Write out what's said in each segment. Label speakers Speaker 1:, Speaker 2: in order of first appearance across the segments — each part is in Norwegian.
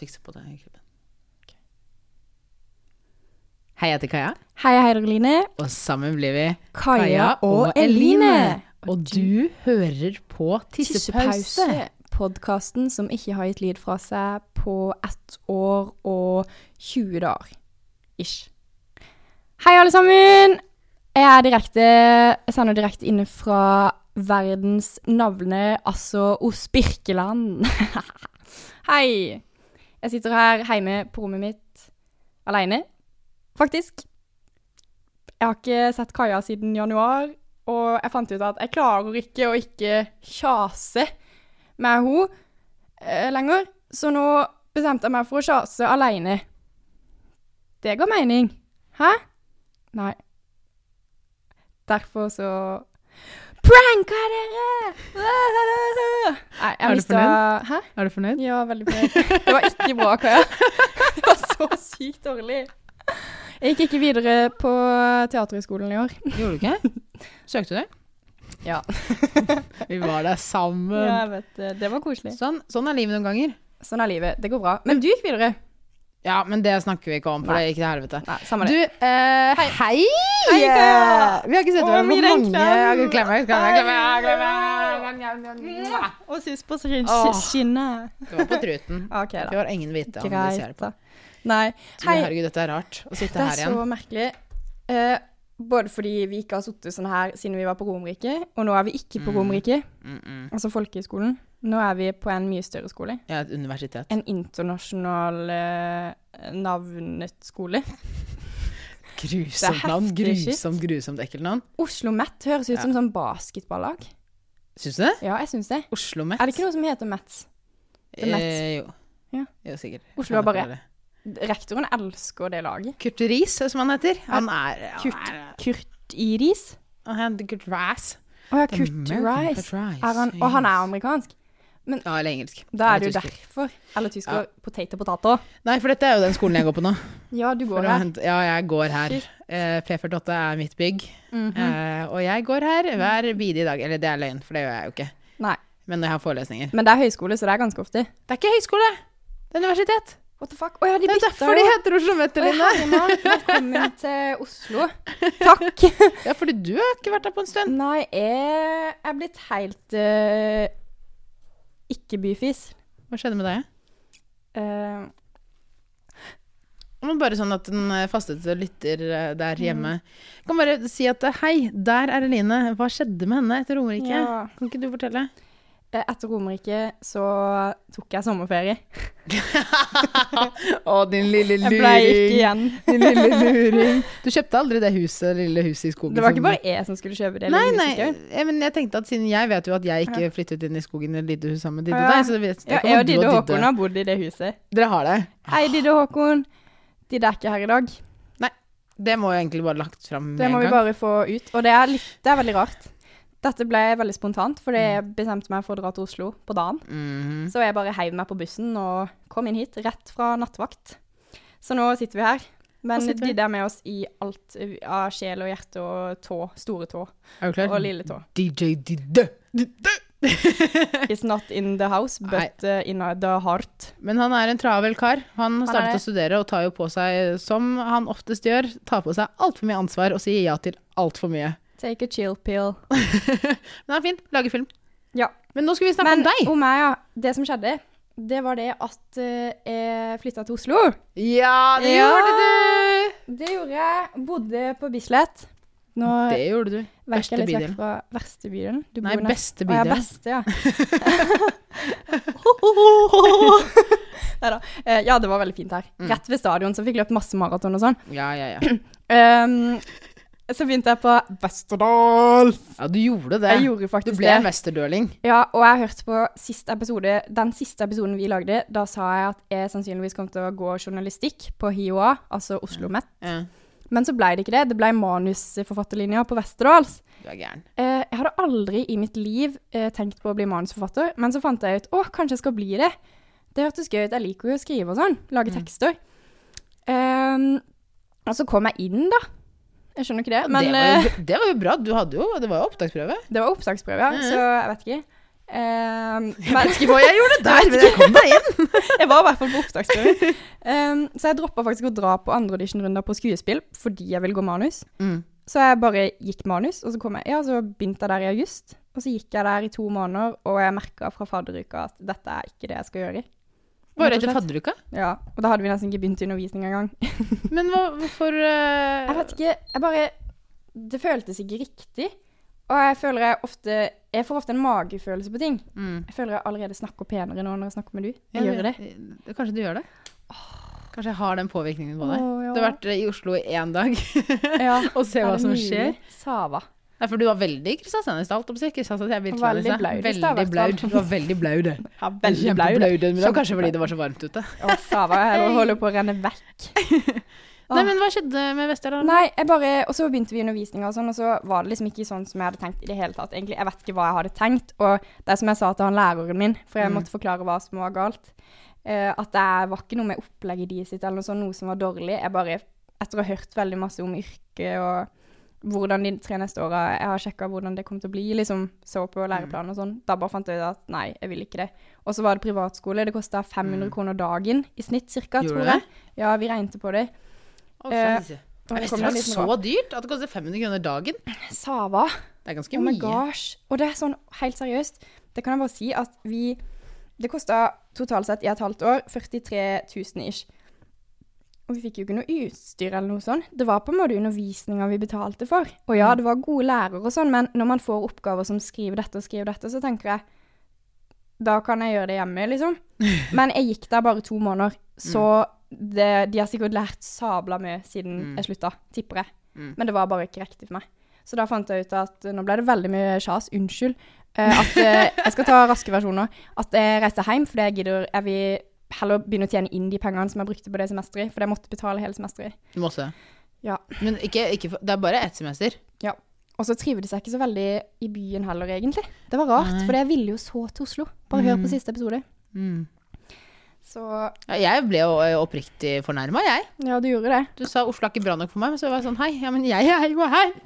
Speaker 1: fikse på det i klubben.
Speaker 2: Hei, jeg heter Kaja,
Speaker 3: Hei, jeg heter Eline.
Speaker 2: og sammen blir vi
Speaker 3: Kaja, og, Eline.
Speaker 2: Og du hører på Tissepause.
Speaker 3: Tissepause. Podkasten som ikke har gitt lyd fra seg på ett år og 20 dager. Ish. Hei, alle sammen! Jeg er direkte, jeg sender direkte inne fra verdens navle, altså Ospirkeland. Hei! Jeg sitter her hjemme på rommet mitt aleine, faktisk. Jeg har ikke sett Kaja siden januar, og jeg fant ut at jeg klarer ikke å ikke kjase med henne eh, lenger. Så nå bestemte jeg meg for å kjase aleine. Det ga mening. Hæ? Nei. Derfor så Pranka dere! Nei,
Speaker 2: Er du
Speaker 3: jeg mista
Speaker 2: fornøyd?
Speaker 3: Hæ?
Speaker 2: Er du fornøyd?
Speaker 3: Ja, veldig bra. Det var ikke bra, Kaja. Det var så sykt dårlig. Jeg gikk ikke videre på Teaterhøgskolen i år.
Speaker 2: Gjorde du ikke? Søkte du?
Speaker 3: Ja.
Speaker 2: Vi var der sammen.
Speaker 3: Ja, jeg vet det. Det var koselig.
Speaker 2: Sånn, sånn er livet noen ganger.
Speaker 3: Sånn er livet. Det går bra. Men du gikk videre.
Speaker 2: Ja, men det snakker vi ikke om, for
Speaker 3: Nei.
Speaker 2: det gikk til helvete.
Speaker 3: Nei, samme
Speaker 2: Du,
Speaker 3: det.
Speaker 2: eh, hei!
Speaker 3: Hei, Kaja!
Speaker 2: Vi har ikke sett
Speaker 3: Å,
Speaker 2: hverandre
Speaker 3: gi
Speaker 2: på
Speaker 3: deg en
Speaker 2: mange
Speaker 3: klem.
Speaker 2: Klem, jeg skal- jeg klemmer, jeg klemmer.
Speaker 3: Og sus på skin-
Speaker 2: Åh.
Speaker 3: skinnet.
Speaker 2: Det var på truten.
Speaker 3: OK,
Speaker 2: Det
Speaker 3: da.
Speaker 2: var ingen vite om de ser
Speaker 3: Greit,
Speaker 2: på.
Speaker 3: da. Nei.
Speaker 2: Så,
Speaker 3: Hei.
Speaker 2: herregud, dette er rart å sitte
Speaker 3: Det
Speaker 2: her
Speaker 3: er
Speaker 2: igjen.
Speaker 3: så merkelig. Eh, både fordi vi ikke har sittet sånn her siden vi var på Romerike, og nå er vi ikke på
Speaker 2: Mm.
Speaker 3: Romerike,
Speaker 2: Mm -mm.
Speaker 3: altså folkehøyskolen. Nå er vi på en mye større skole.
Speaker 2: Ja, et universitet.
Speaker 3: En internasjonal eh, navnet skole.
Speaker 2: Grusomt
Speaker 3: Det er
Speaker 2: navn.
Speaker 3: heftig shit.
Speaker 2: Grusomt, grusomt ekkelt navn.
Speaker 3: Oslo Met høres ut
Speaker 2: Ja.
Speaker 3: som sånn basketballag.
Speaker 2: Syns du det?
Speaker 3: Ja, jeg syns det.
Speaker 2: Oslo Met.
Speaker 3: Er det ikke noe som heter Met? The Met?
Speaker 2: Eh, jo.
Speaker 3: Ja.
Speaker 2: jo, sikkert.
Speaker 3: Oslo er
Speaker 2: Han
Speaker 3: bare-
Speaker 2: det.
Speaker 3: Rektoren elsker det laget.
Speaker 2: Kurt Riis, som han heter. Han er han
Speaker 3: Kurt.
Speaker 2: er-
Speaker 3: Kurt Iris.
Speaker 2: Han heter Kurt Rice.
Speaker 3: Å ja, Kurt Rice. Er han, og han er amerikansk.
Speaker 2: Ja, eller engelsk.
Speaker 3: Da er
Speaker 2: Eller
Speaker 3: det jo
Speaker 2: tysker.
Speaker 3: derfor. Eller tysker. Potato, potato.
Speaker 2: Nei, for dette er jo den skolen jeg går på nå.
Speaker 3: Ja, du
Speaker 2: For
Speaker 3: går
Speaker 2: å
Speaker 3: her.
Speaker 2: hente, ja, jeg går her.
Speaker 3: Shit. Mhm.
Speaker 2: Eh, P48 er mitt bygg. eh, og jeg går her hver bidige dag. Eller det er løgn, for det gjør jeg jo ikke.
Speaker 3: Nei.
Speaker 2: Men jeg har forelesninger.
Speaker 3: Men det er høyskole, så det er ganske ofte.
Speaker 2: Det er ikke høyskole! Det er universitet.
Speaker 3: What the fuck? Å ja, de
Speaker 2: Det er
Speaker 3: bytta
Speaker 2: derfor de
Speaker 3: jo.
Speaker 2: heter Oslo Met,
Speaker 3: Å,
Speaker 2: Eline.
Speaker 3: herremann, Velkommen til Oslo. Takk.
Speaker 2: Ja, fordi du har ikke vært der på en stund.
Speaker 3: Nei, jeg er blitt helt eh, ikke byfis.
Speaker 2: Hva skjedde med deg?
Speaker 3: Eh,
Speaker 2: Men bare sånn at den eh, fasteste lytter eh, der hjemme kan bare si at eh, hei, der er Eline. Hva skjedde med henne etter Romerike?
Speaker 3: Ja.
Speaker 2: Kan ikke du fortelle?
Speaker 3: eh, etter Romerike så tok jeg sommerferie.
Speaker 2: Å, din lille
Speaker 3: Jeg ble ikke igjen.
Speaker 2: Din lille luring. Du kjøpte aldri det huset, lille huset i skogen?
Speaker 3: Det var
Speaker 2: som-
Speaker 3: ikke bare jeg som skulle kjøpe det.
Speaker 2: Nei,
Speaker 3: lille
Speaker 2: nei,
Speaker 3: huset, ikke?
Speaker 2: jeg, men jeg tenkte at siden jeg vet jo at jeg ikke flyttet inn i skogen i et lite hus sammen med Didde
Speaker 3: Ja.
Speaker 2: og deg, så vet
Speaker 3: Ja,
Speaker 2: jeg
Speaker 3: jeg
Speaker 2: ikke
Speaker 3: og Didde og
Speaker 2: hva du og
Speaker 3: Håkon
Speaker 2: Didde
Speaker 3: har bodd i det huset.
Speaker 2: Dere har det.
Speaker 3: Hei, Didde og Håkon. Didde er ikke her i dag.
Speaker 2: Det må jo egentlig bare lagt fram med
Speaker 3: Det må
Speaker 2: en
Speaker 3: vi
Speaker 2: gang.
Speaker 3: bare få ut. Og det er, litt, det er veldig rart. Dette ble veldig spontant, fordi jeg
Speaker 2: Mm.
Speaker 3: bestemte meg for å dra til Oslo på dagen.
Speaker 2: Mhm.
Speaker 3: Så jeg bare heiv meg på bussen og kom inn hit, rett fra nattvakt. Så nå sitter vi her. Men
Speaker 2: Nå sitter vi.
Speaker 3: de der med oss i alt eh, av sjel og hjerte og tå, store tå
Speaker 2: Er du klar?
Speaker 3: og lille tå.
Speaker 2: DJ Didde. Didde.
Speaker 3: It's not in the house, but eh, in the heart.
Speaker 2: Men han er en travel kar. Han har
Speaker 3: er
Speaker 2: startet å
Speaker 3: det.
Speaker 2: studere og tar jo på seg, som han oftest gjør, tar på seg altfor mye ansvar og sier ja til altfor mye.
Speaker 3: Take a chill pill.
Speaker 2: Men det er fint. Lager film.
Speaker 3: Ja.
Speaker 2: Men nå skal vi snakke
Speaker 3: Men
Speaker 2: om deg.
Speaker 3: om meg, ja. Det som skjedde, det var det at eh, jeg flytta til Oslo.
Speaker 2: Ja, det
Speaker 3: Ja.
Speaker 2: gjorde du!
Speaker 3: Det gjorde jeg. Bodde på Bislett. Nå
Speaker 2: Det gjorde du.
Speaker 3: verker
Speaker 2: Beste
Speaker 3: jeg litt vekk
Speaker 2: bydelen.
Speaker 3: fra verste bydelen. Du
Speaker 2: Nei,
Speaker 3: bor nær-
Speaker 2: beste
Speaker 3: Å,
Speaker 2: bydelen.
Speaker 3: ja, beste, ja. Nei da. Eh, ja, det var veldig fint her.
Speaker 2: Mm.
Speaker 3: Rett ved stadion, så fikk jeg løpt masse maraton og sånn.
Speaker 2: Ja, ja, ja.
Speaker 3: Ehm, så begynte jeg på Vesterdal.
Speaker 2: Ja, du gjorde det.
Speaker 3: Jeg gjorde
Speaker 2: du
Speaker 3: faktisk
Speaker 2: ble en
Speaker 3: det.
Speaker 2: westerdøling.
Speaker 3: Ja, og jeg hørte på sist episode, den siste episoden vi lagde. Da sa jeg at jeg sannsynligvis kom til å gå journalistikk på HiOA, altså
Speaker 2: Mm.
Speaker 3: Oslo Met.
Speaker 2: Ja.
Speaker 3: Men så ble det ikke det. Det ble manusforfatterlinja på Westerdals.
Speaker 2: Du er gæren.
Speaker 3: Eh, jeg hadde aldri i mitt liv eh, tenkt på å bli manusforfatter, men så fant jeg ut å, kanskje jeg skal bli det. Det hørtes gøy ut. Jeg liker jo å skrive og sånn. Lage
Speaker 2: Mm.
Speaker 3: tekster. Ehm, og så kom jeg inn, da. Jeg skjønner ikke det, men
Speaker 2: det, var
Speaker 3: eh,
Speaker 2: jo, det var jo bra. Du hadde jo, det var jo opptaksprøve.
Speaker 3: det var opptaksprøve, ja,
Speaker 2: Mhm.
Speaker 3: så jeg vet ikke. Eh,
Speaker 2: Jeg
Speaker 3: men
Speaker 2: vet ikke hva jeg gjorde der, men jeg kom meg inn.
Speaker 3: jeg var i hvert fall på opptakstur. Um, så jeg droppa faktisk å dra på andre auditionrunder på skuespill fordi jeg ville gå manus.
Speaker 2: Mm.
Speaker 3: Så jeg bare gikk manus, og så, kom jeg, ja, så begynte jeg der i august. Og så gikk jeg der i to måneder, og jeg merka fra fadderuka at dette er ikke det jeg skal gjøre.
Speaker 2: Bare
Speaker 3: Rett og
Speaker 2: etter
Speaker 3: slett.
Speaker 2: fadderuka?
Speaker 3: Ja, Og da hadde vi nesten ikke begynt undervisning engang.
Speaker 2: Men hva, hvorfor eh,
Speaker 3: Jeg vet ikke, jeg bare Det føltes ikke riktig. Og jeg føler jeg ofte Jeg får ofte en magefølelse på ting.
Speaker 2: Mm.
Speaker 3: Jeg føler jeg allerede snakker penere nå når jeg snakker med du. Jeg gjør det.
Speaker 2: det- eh, Kanskje du gjør det? Kanskje jeg har den påvirkningen på deg.
Speaker 3: Åh, ja.
Speaker 2: Du har vært eh, i Oslo i én dag
Speaker 3: Ja.
Speaker 2: og se
Speaker 3: Er
Speaker 2: hva
Speaker 3: det
Speaker 2: som
Speaker 3: mulig?
Speaker 2: skjer.
Speaker 3: Sava.
Speaker 2: Nei, for du var veldig i Kristiansand i stad. holdt jeg på å si. Kristiansand, jeg er virkelig
Speaker 3: Veldig
Speaker 2: Kristiansand.
Speaker 3: blaut i stad,
Speaker 2: Veldig
Speaker 3: i hvert
Speaker 2: blaut.
Speaker 3: fall.
Speaker 2: Du var veldig blaud.
Speaker 3: Ja,
Speaker 2: Kjempeblaud. Men det var kanskje fordi
Speaker 3: Kjempeblaut.
Speaker 2: det var så varmt ute.
Speaker 3: Å, Sava, jeg holder på å renne vekk. Åh.
Speaker 2: Nei, men hva skjedde med Vesterålen?
Speaker 3: Nei, jeg bare Og så begynte vi undervisninga og sånn, og så var det liksom ikke sånn som jeg hadde tenkt i det hele tatt, egentlig. Jeg vet ikke hva jeg hadde tenkt, og det er som jeg sa til han læreren min, for jeg
Speaker 2: Mm.
Speaker 3: måtte forklare hva som var galt, eh, at det var ikke noe med opplegget de sitt eller noe sånt, noe som var dårlig. Jeg bare Etter å ha hørt veldig masse om yrket og hvordan de tre neste åra Jeg har sjekka hvordan det kom til å bli, liksom så
Speaker 2: Mm.
Speaker 3: på læreplanen og sånn. Da bare fant jeg ut at nei, jeg vil ikke det. Og så var det privatskole. Det kosta 500 kroner dagen i snitt,
Speaker 2: Mm.
Speaker 3: cirka,
Speaker 2: Gjorde
Speaker 3: tror
Speaker 2: det?
Speaker 3: jeg. Ja, vi regnet på det.
Speaker 2: Å,
Speaker 3: eh,
Speaker 2: fancy.
Speaker 3: og
Speaker 2: Er
Speaker 3: det kom en
Speaker 2: Vesterålen
Speaker 3: liten
Speaker 2: så
Speaker 3: rå-
Speaker 2: dyrt at det koster 500 kroner dagen?
Speaker 3: Sava.
Speaker 2: Det er ganske
Speaker 3: Oh my
Speaker 2: mye.
Speaker 3: gosh. Og det er sånn, helt seriøst, det kan jeg bare si at vi Det kosta totalt sett i et halvt år 43 000 ish. Og vi fikk jo ikke noe utstyr eller noe sånt. Det var på en måte undervisninga vi betalte for. Og
Speaker 2: Mm.
Speaker 3: ja, det var gode lærere og sånn, men når man får oppgaver som skriver dette og skriver dette, så tenker jeg da kan jeg gjøre det hjemme, liksom. Men jeg gikk der bare to måneder, så det, de har sikkert lært sabla mye siden
Speaker 2: Mm.
Speaker 3: jeg slutta, tipper jeg.
Speaker 2: Mm.
Speaker 3: Men det var bare ikke riktig for meg. Så da fant jeg ut at Nå ble det veldig mye sjas, unnskyld. eh, at eh, Jeg skal ta raske versjoner. At jeg reiste hjem fordi jeg gidder Jeg vil heller begynne å tjene inn de pengene som jeg brukte på det semesteret, for jeg måtte betale hele semesteret.
Speaker 2: Masse.
Speaker 3: Ja.
Speaker 2: Men ikke, ikke, for- det er bare ett semester.
Speaker 3: Ja. Og så trivdes jeg ikke så veldig i byen heller, egentlig. Det var rart, for jeg ville jo så til Oslo. Bare hør på siste episode.
Speaker 2: Mm.
Speaker 3: Så
Speaker 2: Ja, jeg ble jo eh, oppriktig fornærma, jeg.
Speaker 3: Ja, du gjorde det.
Speaker 2: Du sa Oslo er ikke bra nok for meg, men så var jeg sånn hei, ja, men jeg er jo her.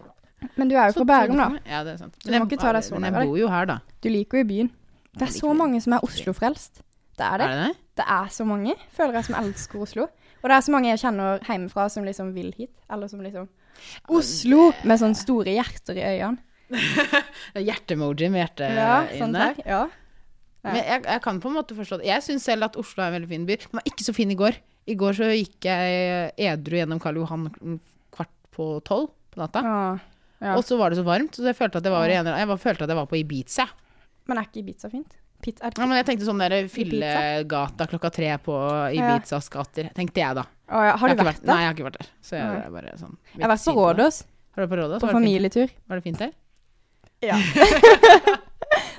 Speaker 3: Men du er jo
Speaker 2: Så
Speaker 3: fra Bærum,
Speaker 2: tror du
Speaker 3: da.
Speaker 2: på meg? Ja, det er sant.
Speaker 3: Du må ikke ta deg så
Speaker 2: men
Speaker 3: nær
Speaker 2: jeg
Speaker 3: deg.
Speaker 2: bor jo her, da.
Speaker 3: Du liker jo byen. Det er så
Speaker 2: likevel.
Speaker 3: mange som er Oslo-frelst. Det er
Speaker 2: Er
Speaker 3: det.
Speaker 2: det det?
Speaker 3: Det er så mange, føler jeg, som elsker Oslo. Og det er så mange jeg kjenner hjemmefra som liksom vil hit. Eller som liksom Oslo! Med sånne store hjerter i øynene.
Speaker 2: Det er Hjerte-emoji med hjerte
Speaker 3: Ja, sånn
Speaker 2: inne.
Speaker 3: der. Ja.
Speaker 2: Men jeg, jeg kan på en måte forstå det. Jeg syns selv at Oslo er en veldig fin by. Den var ikke så fin i går. I går så gikk jeg eh, edru gjennom Karl Johan kvart på tolv på natta.
Speaker 3: Ah, ja.
Speaker 2: Og så var det så varmt, så jeg følte at jeg var, i en- jeg var, følte at jeg var på Ibiza.
Speaker 3: Men er ikke Ibiza fint? Pit er
Speaker 2: Ja, men jeg tenkte sånn der fyllegata klokka tre på Ibizas gater, tenkte jeg da.
Speaker 3: Å, ja. Har
Speaker 2: Jeg
Speaker 3: du
Speaker 2: ikke
Speaker 3: vært der?
Speaker 2: Nei, jeg har ikke vært der. Så jeg,
Speaker 3: Nei.
Speaker 2: det er bare sånn
Speaker 3: Jeg har vært på
Speaker 2: siden av det.
Speaker 3: Rådås,
Speaker 2: Har du vært på Rådås?
Speaker 3: på
Speaker 2: Var det fint-
Speaker 3: familietur.
Speaker 2: Var det fint der?
Speaker 3: Ja.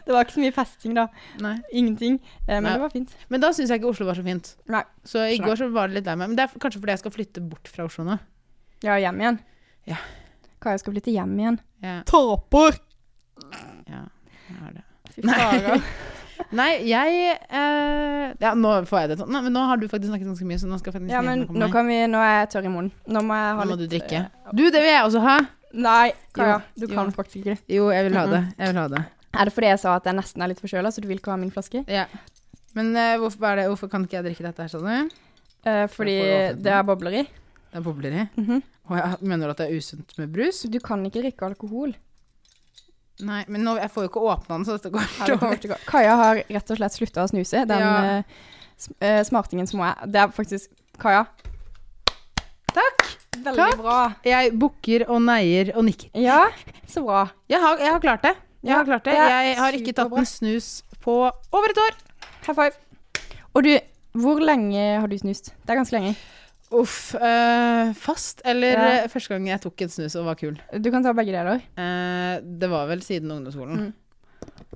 Speaker 3: det var ikke så mye festing, da.
Speaker 2: Nei.
Speaker 3: Ingenting. Eh, men
Speaker 2: Nei.
Speaker 3: det var fint.
Speaker 2: Men da syns jeg ikke Oslo var så fint.
Speaker 3: Nei.
Speaker 2: Så i
Speaker 3: Nei.
Speaker 2: går så var det litt lei meg. Men det er kanskje fordi jeg skal flytte bort fra Oslo nå.
Speaker 3: Ja, hjem igjen.
Speaker 2: Ja.
Speaker 3: Kaja skal flytte hjem igjen.
Speaker 2: Jeg,
Speaker 3: Taper!
Speaker 2: ja, jeg har det.
Speaker 3: Fy fader.
Speaker 2: Nei, jeg eh, Ja, nå får jeg det sånn. Nei, men nå har du faktisk snakket ganske mye, så nå skal jeg faktisk
Speaker 3: Ja,
Speaker 2: ikke
Speaker 3: men
Speaker 2: snakke om
Speaker 3: nå,
Speaker 2: meg.
Speaker 3: kan vi, nå er jeg tørr i munnen. Nå må jeg ha
Speaker 2: Nå må
Speaker 3: litt
Speaker 2: du drikke. Du, det vil jeg også ha.
Speaker 3: Nei, Kaja.
Speaker 2: Jo,
Speaker 3: Du kan
Speaker 2: jo.
Speaker 3: faktisk ikke det.
Speaker 2: Jo, jeg vil ha det. Jeg vil ha det.
Speaker 3: Er det fordi jeg sa at jeg nesten er litt forkjøla, så du vil ikke ha min flaske?
Speaker 2: Ja. Men eh, hvorfor, er det, hvorfor kan ikke jeg drikke dette her, sa du?
Speaker 3: Eh, fordi
Speaker 2: Jeg får lov til
Speaker 3: det er bobler i.
Speaker 2: Det er bobler i.
Speaker 3: Mhm.
Speaker 2: Og jeg mener du at det er usunt med brus?
Speaker 3: Du kan ikke drikke alkohol.
Speaker 2: Nei, men nå, jeg får jo ikke åpna den, så dette går
Speaker 3: Ja, det kommer til å gå. Kaja har rett og slett slutta å snuse. Den
Speaker 2: Ja.
Speaker 3: eh, sm- eh, smartingen som hun er. Det er faktisk Kaja. Takk. Veldig
Speaker 2: Takk.
Speaker 3: bra.
Speaker 2: Jeg bukker og neier og nikker.
Speaker 3: Ja, så bra.
Speaker 2: Jeg har, jeg har klart det. Jeg
Speaker 3: Ja,
Speaker 2: har klart det.
Speaker 3: det er
Speaker 2: Jeg har ikke tatt
Speaker 3: superbra.
Speaker 2: en snus på over et år.
Speaker 3: High five. Og du, hvor lenge har du snust? Det er ganske lenge.
Speaker 2: Uff. eh, fast eller
Speaker 3: Ja.
Speaker 2: eh, første gang jeg tok en snus og var kul?
Speaker 3: Du kan ta begge deler.
Speaker 2: Eh, det var vel siden ungdomsskolen.
Speaker 3: Mm.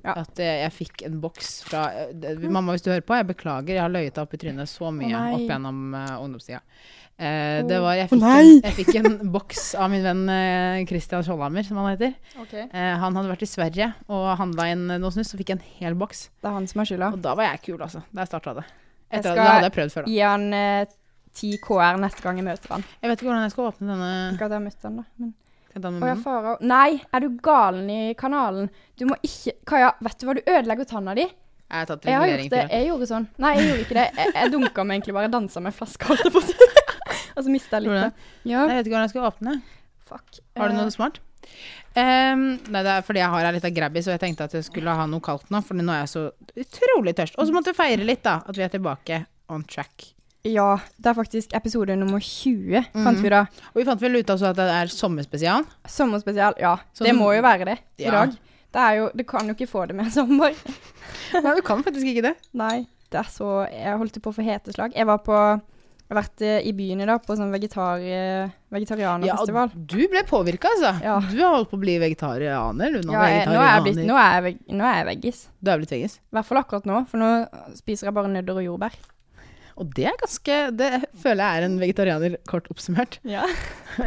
Speaker 3: Ja.
Speaker 2: At eh, jeg fikk en boks fra eh, det, Mamma, hvis du hører på, jeg beklager, jeg har løyet deg opp i trynet så mye
Speaker 3: nei.
Speaker 2: opp gjennom eh, ungdomstida. Eh, det var Jeg
Speaker 3: Å
Speaker 2: fikk, en,
Speaker 3: nei.
Speaker 2: jeg fikk en boks av min venn eh, Christian Skjoldhammer, som han heter.
Speaker 3: Okay.
Speaker 2: Eh, han hadde vært i Sverige og handla inn eh, noe snus, så fikk jeg en hel boks.
Speaker 3: Det er han som har skylda.
Speaker 2: Og da var jeg kul, altså. Da jeg starta det.
Speaker 3: Jeg
Speaker 2: Etter,
Speaker 3: skal-
Speaker 2: at- Da hadde jeg prøvd før, da.
Speaker 3: Gi han eh, 10 KR neste gang jeg møter han.
Speaker 2: Jeg vet ikke hvordan jeg skal åpne denne
Speaker 3: Ikke at jeg har møtt han da, men
Speaker 2: Er den med
Speaker 3: Å ja,
Speaker 2: munnen?
Speaker 3: Farao. Nei, er du galen i kanalen? Du må ikke Kaja, vet du hva? Du ødelegger tanna di.
Speaker 2: Jeg har tatt
Speaker 3: Jeg har gjort
Speaker 2: regulering
Speaker 3: det.
Speaker 2: for det.
Speaker 3: Jeg gjorde sånn. Nei, jeg gjorde ikke det. Jeg, jeg dunka meg egentlig bare. Dansa med en flaske, holdt jeg på å si. Og så mista jeg
Speaker 2: Gjorde
Speaker 3: litt. Ja.
Speaker 2: Nei, Jeg vet ikke hvordan jeg skal åpne.
Speaker 3: Fuck.
Speaker 2: Har du
Speaker 3: Eh,
Speaker 2: noe smart? Ehm, nei, det er fordi jeg har ei lita grabbis, og jeg tenkte at jeg skulle ha noe kaldt nå, for nå er jeg så utrolig tørst. Og så måtte vi feire litt, da, at vi er tilbake on track.
Speaker 3: Eh, Ja, det er faktisk episode nummer 20,
Speaker 2: Mm.
Speaker 3: fant vi da.
Speaker 2: Og vi fant vel ut også at det er sommerspesial.
Speaker 3: Sommerspesial, ja.
Speaker 2: Så
Speaker 3: det
Speaker 2: som-
Speaker 3: må jo være det i
Speaker 2: Sånn- Ja.
Speaker 3: dag. Det er jo, du kan jo ikke få det med sommer.
Speaker 2: Nei, du kan faktisk ikke det.
Speaker 3: Nei, det er så Jeg holdt på å få heteslag. Jeg var på jeg har vært eh, i byen i dag på sånn vegetar,
Speaker 2: Ja,
Speaker 3: eh,
Speaker 2: og
Speaker 3: vegetarianerfestival.
Speaker 2: du ble påvirka, altså.
Speaker 3: Ja.
Speaker 2: Du har holdt på å bli vegetarianer. Du, nå,
Speaker 3: Ja, jeg, nå, er jeg blitt,
Speaker 2: vegetarianer.
Speaker 3: nå, er jeg veg, nå er jeg veggis.
Speaker 2: Du er blitt veggis.
Speaker 3: I hvert fall akkurat nå, for nå spiser jeg bare nødder og jordbær.
Speaker 2: Og det er ganske Det føler jeg er en vegetarianer, kort oppsummert.
Speaker 3: Ja.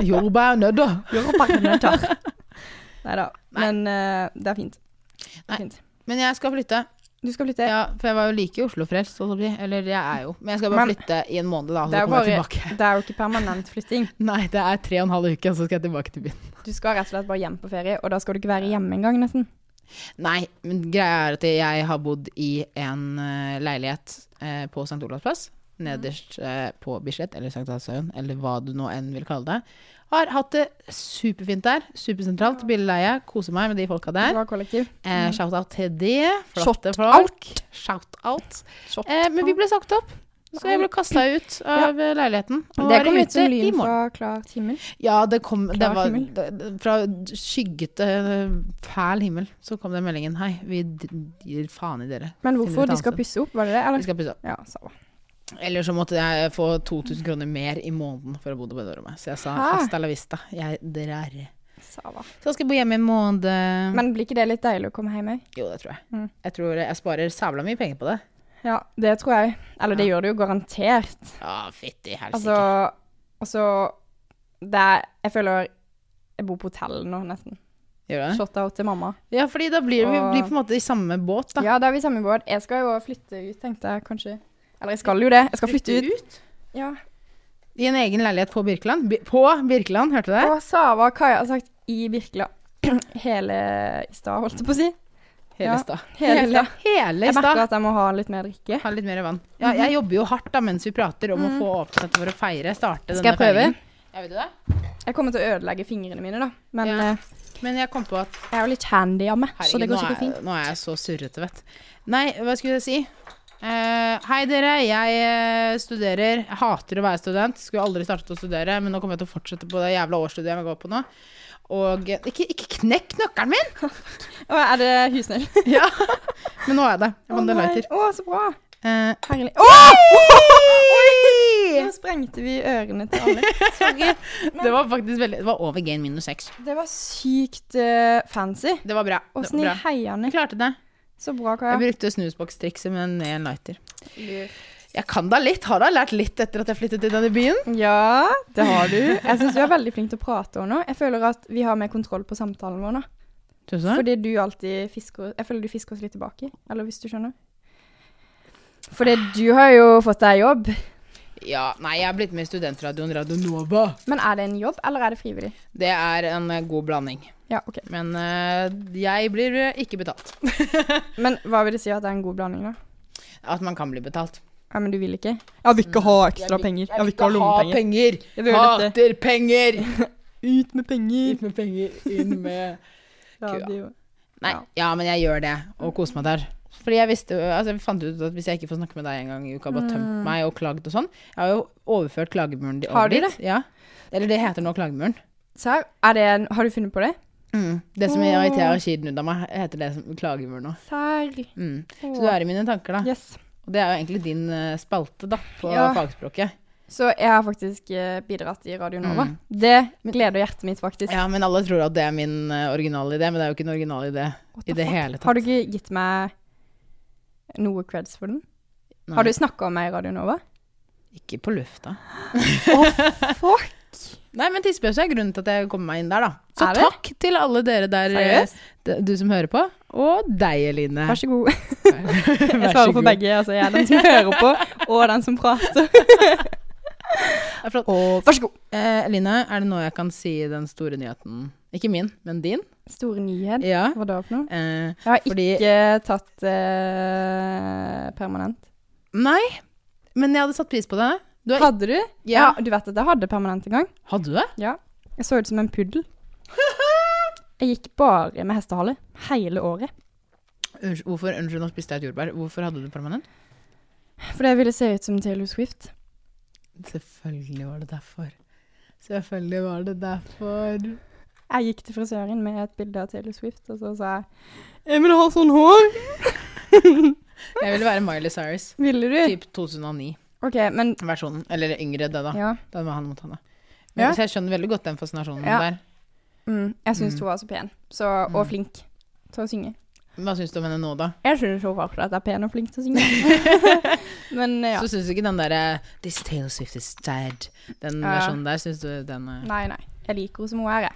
Speaker 2: Jordbær og nødder.
Speaker 3: Jordbær og nødder. Neida.
Speaker 2: Nei.
Speaker 3: Men eh, det er fint. Det
Speaker 2: Nei.
Speaker 3: er fint.
Speaker 2: Men jeg skal flytte.
Speaker 3: Du skal flytte.
Speaker 2: Ja, for jeg var jo like Oslo-frelst, holdt jeg på å si. Eller jeg er jo. Men jeg skal bare
Speaker 3: Men-
Speaker 2: flytte i en måned, da,
Speaker 3: Det
Speaker 2: så
Speaker 3: er jo
Speaker 2: kommer jeg
Speaker 3: bare-
Speaker 2: tilbake.
Speaker 3: Det er jo ikke permanent flytting.
Speaker 2: Nei, det er tre og en halv uke, og så skal jeg tilbake til byen.
Speaker 3: Du skal rett og slett bare hjem på ferie, og da skal du ikke være hjemme engang, nesten.
Speaker 2: Nei, men greia er at jeg har bodd i en eh, leilighet eh, på St. Olavs plass. Nederst
Speaker 3: Mm.
Speaker 2: eh, på Bislett, eller St. Hanshaugen, eller hva du nå enn vil kalle det. Har hatt det superfint der. Supersentralt. Billeie. Koser meg med de folka der.
Speaker 3: Bra kollektiv.
Speaker 2: Eh, Shout-out til det. Flotte folk.
Speaker 3: Mm. Out!
Speaker 2: Shout-out.
Speaker 3: Shot.
Speaker 2: Eh, men vi ble sagt opp. Så jeg ble kasta ut av eh, leiligheten. Og
Speaker 3: det
Speaker 2: er
Speaker 3: kom ut
Speaker 2: ute
Speaker 3: som
Speaker 2: i
Speaker 3: lyn
Speaker 2: morgen.
Speaker 3: fra klar himmel.
Speaker 2: Ja, det kom det
Speaker 3: Klar
Speaker 2: var,
Speaker 3: himmel.
Speaker 2: det- det- Fra skyggete, eh, fæl himmel så kom den meldingen. Hei, vi d- gir faen i dere.
Speaker 3: Men
Speaker 2: Finner
Speaker 3: hvorfor?
Speaker 2: ut
Speaker 3: De skal
Speaker 2: annet.
Speaker 3: pusse opp, var det det?
Speaker 2: Vi
Speaker 3: Eller?
Speaker 2: skal pusse opp.
Speaker 3: Ja, samme.
Speaker 2: Eller så måtte jeg få 2000 kroner mer i måneden for å bo på det rommet. Så jeg sa
Speaker 3: Hæ?
Speaker 2: hasta la vista. Jeg drar.
Speaker 3: Samme.
Speaker 2: Så jeg skal bo hjemme i en måned.
Speaker 3: Men blir ikke det litt deilig å komme hjem òg?
Speaker 2: jo, det tror jeg.
Speaker 3: Mm.
Speaker 2: Jeg tror jeg sparer sabla mye penger på det.
Speaker 3: Ja, det tror jeg. Eller det gjør det jo garantert.
Speaker 2: Å, fytti helsike.
Speaker 3: Altså Altså Det er Jeg føler jeg bor på hotell nå, nesten.
Speaker 2: Gjør du det?
Speaker 3: Shot-out til mamma.
Speaker 2: Ja, fordi da blir vi
Speaker 3: Og-
Speaker 2: blir på en måte i samme båt, da.
Speaker 3: Ja, da er vi i samme båt. Jeg skal jo flytte ut, tenkte jeg kanskje. Eller jeg skal jo det. Jeg skal flytte ut. Ja.
Speaker 2: I en egen leilighet på Birkeland. Bi- På Birkeland, hørte du det?
Speaker 3: Og Sava og Kaja har sagt i Birkeland hele i stad, holdt jeg på å si.
Speaker 2: Hele
Speaker 3: ja.
Speaker 2: stad.
Speaker 3: Hele i stad.
Speaker 2: Hele i
Speaker 3: Jeg merker
Speaker 2: stad.
Speaker 3: at jeg må ha litt mer drikke.
Speaker 2: Ha litt mer vann. Mhm. Ja, jeg jobber jo hardt da mens vi prater om å få åpnet for å feire. Starte
Speaker 3: Skal
Speaker 2: denne
Speaker 3: jeg prøve?
Speaker 2: feiringen. Ja, vil du det?
Speaker 3: Jeg kommer til å ødelegge fingrene mine, da. Men
Speaker 2: Ja.
Speaker 3: eh,
Speaker 2: Men jeg kom på at
Speaker 3: jeg er jo litt handy av meg, så
Speaker 2: herregud,
Speaker 3: det
Speaker 2: nå
Speaker 3: går sikkert
Speaker 2: er,
Speaker 3: fint.
Speaker 2: nå er jeg så surrete, vet Nei, hva skulle jeg si? Eh, hei, dere. Jeg eh, studerer. Jeg hater å være student. Skulle aldri startet å studere, men nå kommer jeg til å fortsette på det jævla årsstudiet jeg går på nå. Og eh, ikke, ikke knekk nøkkelen min!
Speaker 3: Å, er det husnøkkel?
Speaker 2: Ja. Men nå er jeg det. Jeg
Speaker 3: Å,
Speaker 2: vant en
Speaker 3: nei.
Speaker 2: lighter.
Speaker 3: Å, så bra.
Speaker 2: Eh,
Speaker 3: Herlig. Å,
Speaker 2: Oi!
Speaker 3: nå sprengte vi ørene til alle. Sorry.
Speaker 2: Det var faktisk veldig Det var over gain minus seks.
Speaker 3: Det var sykt eh, fancy.
Speaker 2: Det var bra. Det
Speaker 3: Og
Speaker 2: var
Speaker 3: snill
Speaker 2: bra.
Speaker 3: heiende.
Speaker 2: Jeg klarte det.
Speaker 3: liksom. Så bra,
Speaker 2: Jeg
Speaker 3: Kaja.
Speaker 2: brukte snusbokstrikset med en lighter. Jeg kan da litt. Har da lært litt etter at jeg flyttet til denne byen.
Speaker 3: Ja, det har du. Jeg syns du er veldig flink til å prate om nå. Jeg føler at vi har mer kontroll på samtalen vår nå.
Speaker 2: Tusen
Speaker 3: Fordi du alltid fisker Jeg føler du fisker oss litt tilbake, eller hvis du skjønner? Fordi du har jo fått deg jobb.
Speaker 2: Ja, nei, jeg er blitt med i studentradioen Radio Nova.
Speaker 3: Men er det en jobb, eller er det frivillig?
Speaker 2: Det er en eh, god blanding.
Speaker 3: Ja, ok.
Speaker 2: Men eh, jeg blir eh, ikke betalt.
Speaker 3: Men hva vil det si at det er en god blanding, da?
Speaker 2: At man kan bli betalt.
Speaker 3: Ja, Men du vil ikke? Jeg vil ikke ha ekstra penger. Mm, Jeg vil ikke ha lommepenger.
Speaker 2: penger.
Speaker 3: Jeg vil ha dette.
Speaker 2: Hater penger.
Speaker 3: Ut med penger!
Speaker 2: Ut med penger, inn med
Speaker 3: Radio.
Speaker 2: Nei,
Speaker 3: Ja.
Speaker 2: ja, men jeg gjør det, og koser meg der. Fordi jeg visste, altså jeg fant ut at hvis jeg ikke får snakke med deg en gang i uka, bare tømt meg og klagd og sånn Jeg har jo overført klagemuren di-
Speaker 3: Har de
Speaker 2: dit. Ja. Eller det heter nå klagemuren.
Speaker 3: Serr? Er det en Har du funnet på det?
Speaker 2: Det som
Speaker 3: Åh.
Speaker 2: irriterer kiden ut av meg, heter det som klagemuren nå.
Speaker 3: Serr.
Speaker 2: Mm. Så du er i mine tanker, da.
Speaker 3: Yes.
Speaker 2: Og det er jo egentlig din eh, spalte, da, på
Speaker 3: Ja.
Speaker 2: fagspråket.
Speaker 3: Så jeg har faktisk eh, bidratt i Radio Nova.
Speaker 2: Mm.
Speaker 3: Det gleder hjertet mitt, faktisk.
Speaker 2: Ja, men alle tror at det er min eh, originale idé, men det er jo ikke en original idé
Speaker 3: What the
Speaker 2: i det
Speaker 3: fuck?
Speaker 2: hele tatt.
Speaker 3: Har du ikke gitt meg noe creds for den?
Speaker 2: Nei,
Speaker 3: Har du snakka om meg i Radio Nova?
Speaker 2: Ikke på lufta.
Speaker 3: Fuck!
Speaker 2: Nei, men tissepause er grunnen til at jeg kom meg inn der, da. Så
Speaker 3: Er det?
Speaker 2: takk til alle dere der, eh,
Speaker 3: Seriøst?
Speaker 2: d- du som hører på, og deg, Eline.
Speaker 3: Vær så god.
Speaker 2: Vær
Speaker 3: Jeg
Speaker 2: så
Speaker 3: svarer på
Speaker 2: god.
Speaker 3: begge. Altså, jeg er den som hører på, og den som prater.
Speaker 2: Det er flott.
Speaker 3: Og vær så god.
Speaker 2: Eh, Eline, er det nå jeg kan si den store nyheten? Ikke min, men din?
Speaker 3: Store nyhet.
Speaker 2: Ja.
Speaker 3: Hva da for noe?
Speaker 2: Eh,
Speaker 3: Jeg har
Speaker 2: Fordi-
Speaker 3: ikke tatt eh, permanent.
Speaker 2: nei, men jeg hadde satt pris på det. Du har-
Speaker 3: Hadde du?
Speaker 2: Ja.
Speaker 3: Du vet at jeg hadde permanent en gang?
Speaker 2: Hadde du det?
Speaker 3: Ja. Jeg så ut som en puddel. Jeg gikk bare med hestehale hele året.
Speaker 2: Unnskyld, hvorfor, unnskyld, nå spiste jeg et jordbær. Hvorfor hadde du permanent?
Speaker 3: Fordi jeg ville se ut som Taylor Swift.
Speaker 2: Selvfølgelig var det derfor. Selvfølgelig var det derfor.
Speaker 3: Jeg gikk til frisøren med et bilde av Taylor Swift, og så sa jeg Jeg vil ha sånn hår!
Speaker 2: Jeg ville være Miley Cyrus.
Speaker 3: Ville du?
Speaker 2: Typ 2009-versjonen.
Speaker 3: OK, men
Speaker 2: Eller yngre, det, da.
Speaker 3: Ja.
Speaker 2: Da var han mot henne. Men
Speaker 3: Ja.
Speaker 2: Så jeg skjønner veldig godt den fascinasjonen
Speaker 3: Ja.
Speaker 2: der.
Speaker 3: Mm, jeg syns
Speaker 2: Mm.
Speaker 3: hun var så pen, så, og flink til å synge.
Speaker 2: Hva syns du om henne nå, da?
Speaker 3: Jeg syns hun faktisk at jeg er pen og flink til å synge. men ja.
Speaker 2: Så syns du ikke den derre 'This Taylor Swift is dead', den
Speaker 3: Ja.
Speaker 2: versjonen der, syns du den er
Speaker 3: Nei, nei. Jeg liker henne som hun er.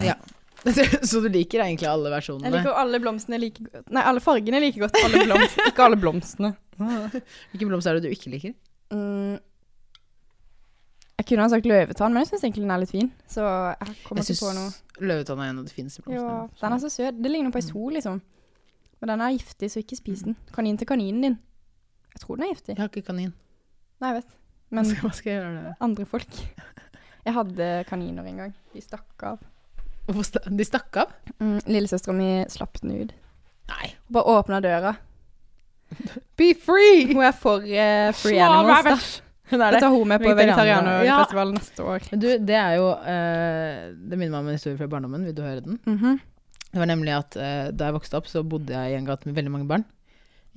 Speaker 3: jeg.
Speaker 2: Så du liker egentlig alle versjonene?
Speaker 3: Jeg liker jo alle blomstene like godt Nei, alle fargene like godt. Alle blomst. Ikke alle blomstene.
Speaker 2: Hvilken blomst er det du ikke liker?
Speaker 3: Mm. Jeg kunne ha sagt løvetann, men jeg syns egentlig den er litt fin. Så jeg kommer
Speaker 2: Jeg
Speaker 3: ikke på noe.
Speaker 2: syns løvetann er en av de fineste
Speaker 3: Ja,
Speaker 2: blomstene.
Speaker 3: den er så søt. Det ligner på ei sol, liksom. Men den er giftig, så ikke spis den. Kanin til kaninen din. Jeg tror den er giftig.
Speaker 2: Jeg har ikke kanin.
Speaker 3: Nei, jeg vet.
Speaker 2: Hva
Speaker 3: Men
Speaker 2: skal, hva skal jeg gjøre da?
Speaker 3: andre folk. Jeg hadde kaniner en gang. De stakk av.
Speaker 2: Hvorfor sta- De stakk av?
Speaker 3: Mm, Lillesøstera mi slapp den ut.
Speaker 2: Nei.
Speaker 3: Hun bare åpna døra.
Speaker 2: Be free!
Speaker 3: Hun er for eh, free animals.
Speaker 2: Hun
Speaker 3: Da.
Speaker 2: er
Speaker 3: Da
Speaker 2: det.
Speaker 3: tar hun med på
Speaker 2: Vegetarianer. Ja.
Speaker 3: vegetarianerfestival neste år.
Speaker 2: Men du, det er jo eh, Det minner meg om en historie fra barndommen. Vil du høre den?
Speaker 3: Mhm.
Speaker 2: Det var nemlig at eh, da jeg vokste opp, så bodde jeg i en gate med veldig mange barn.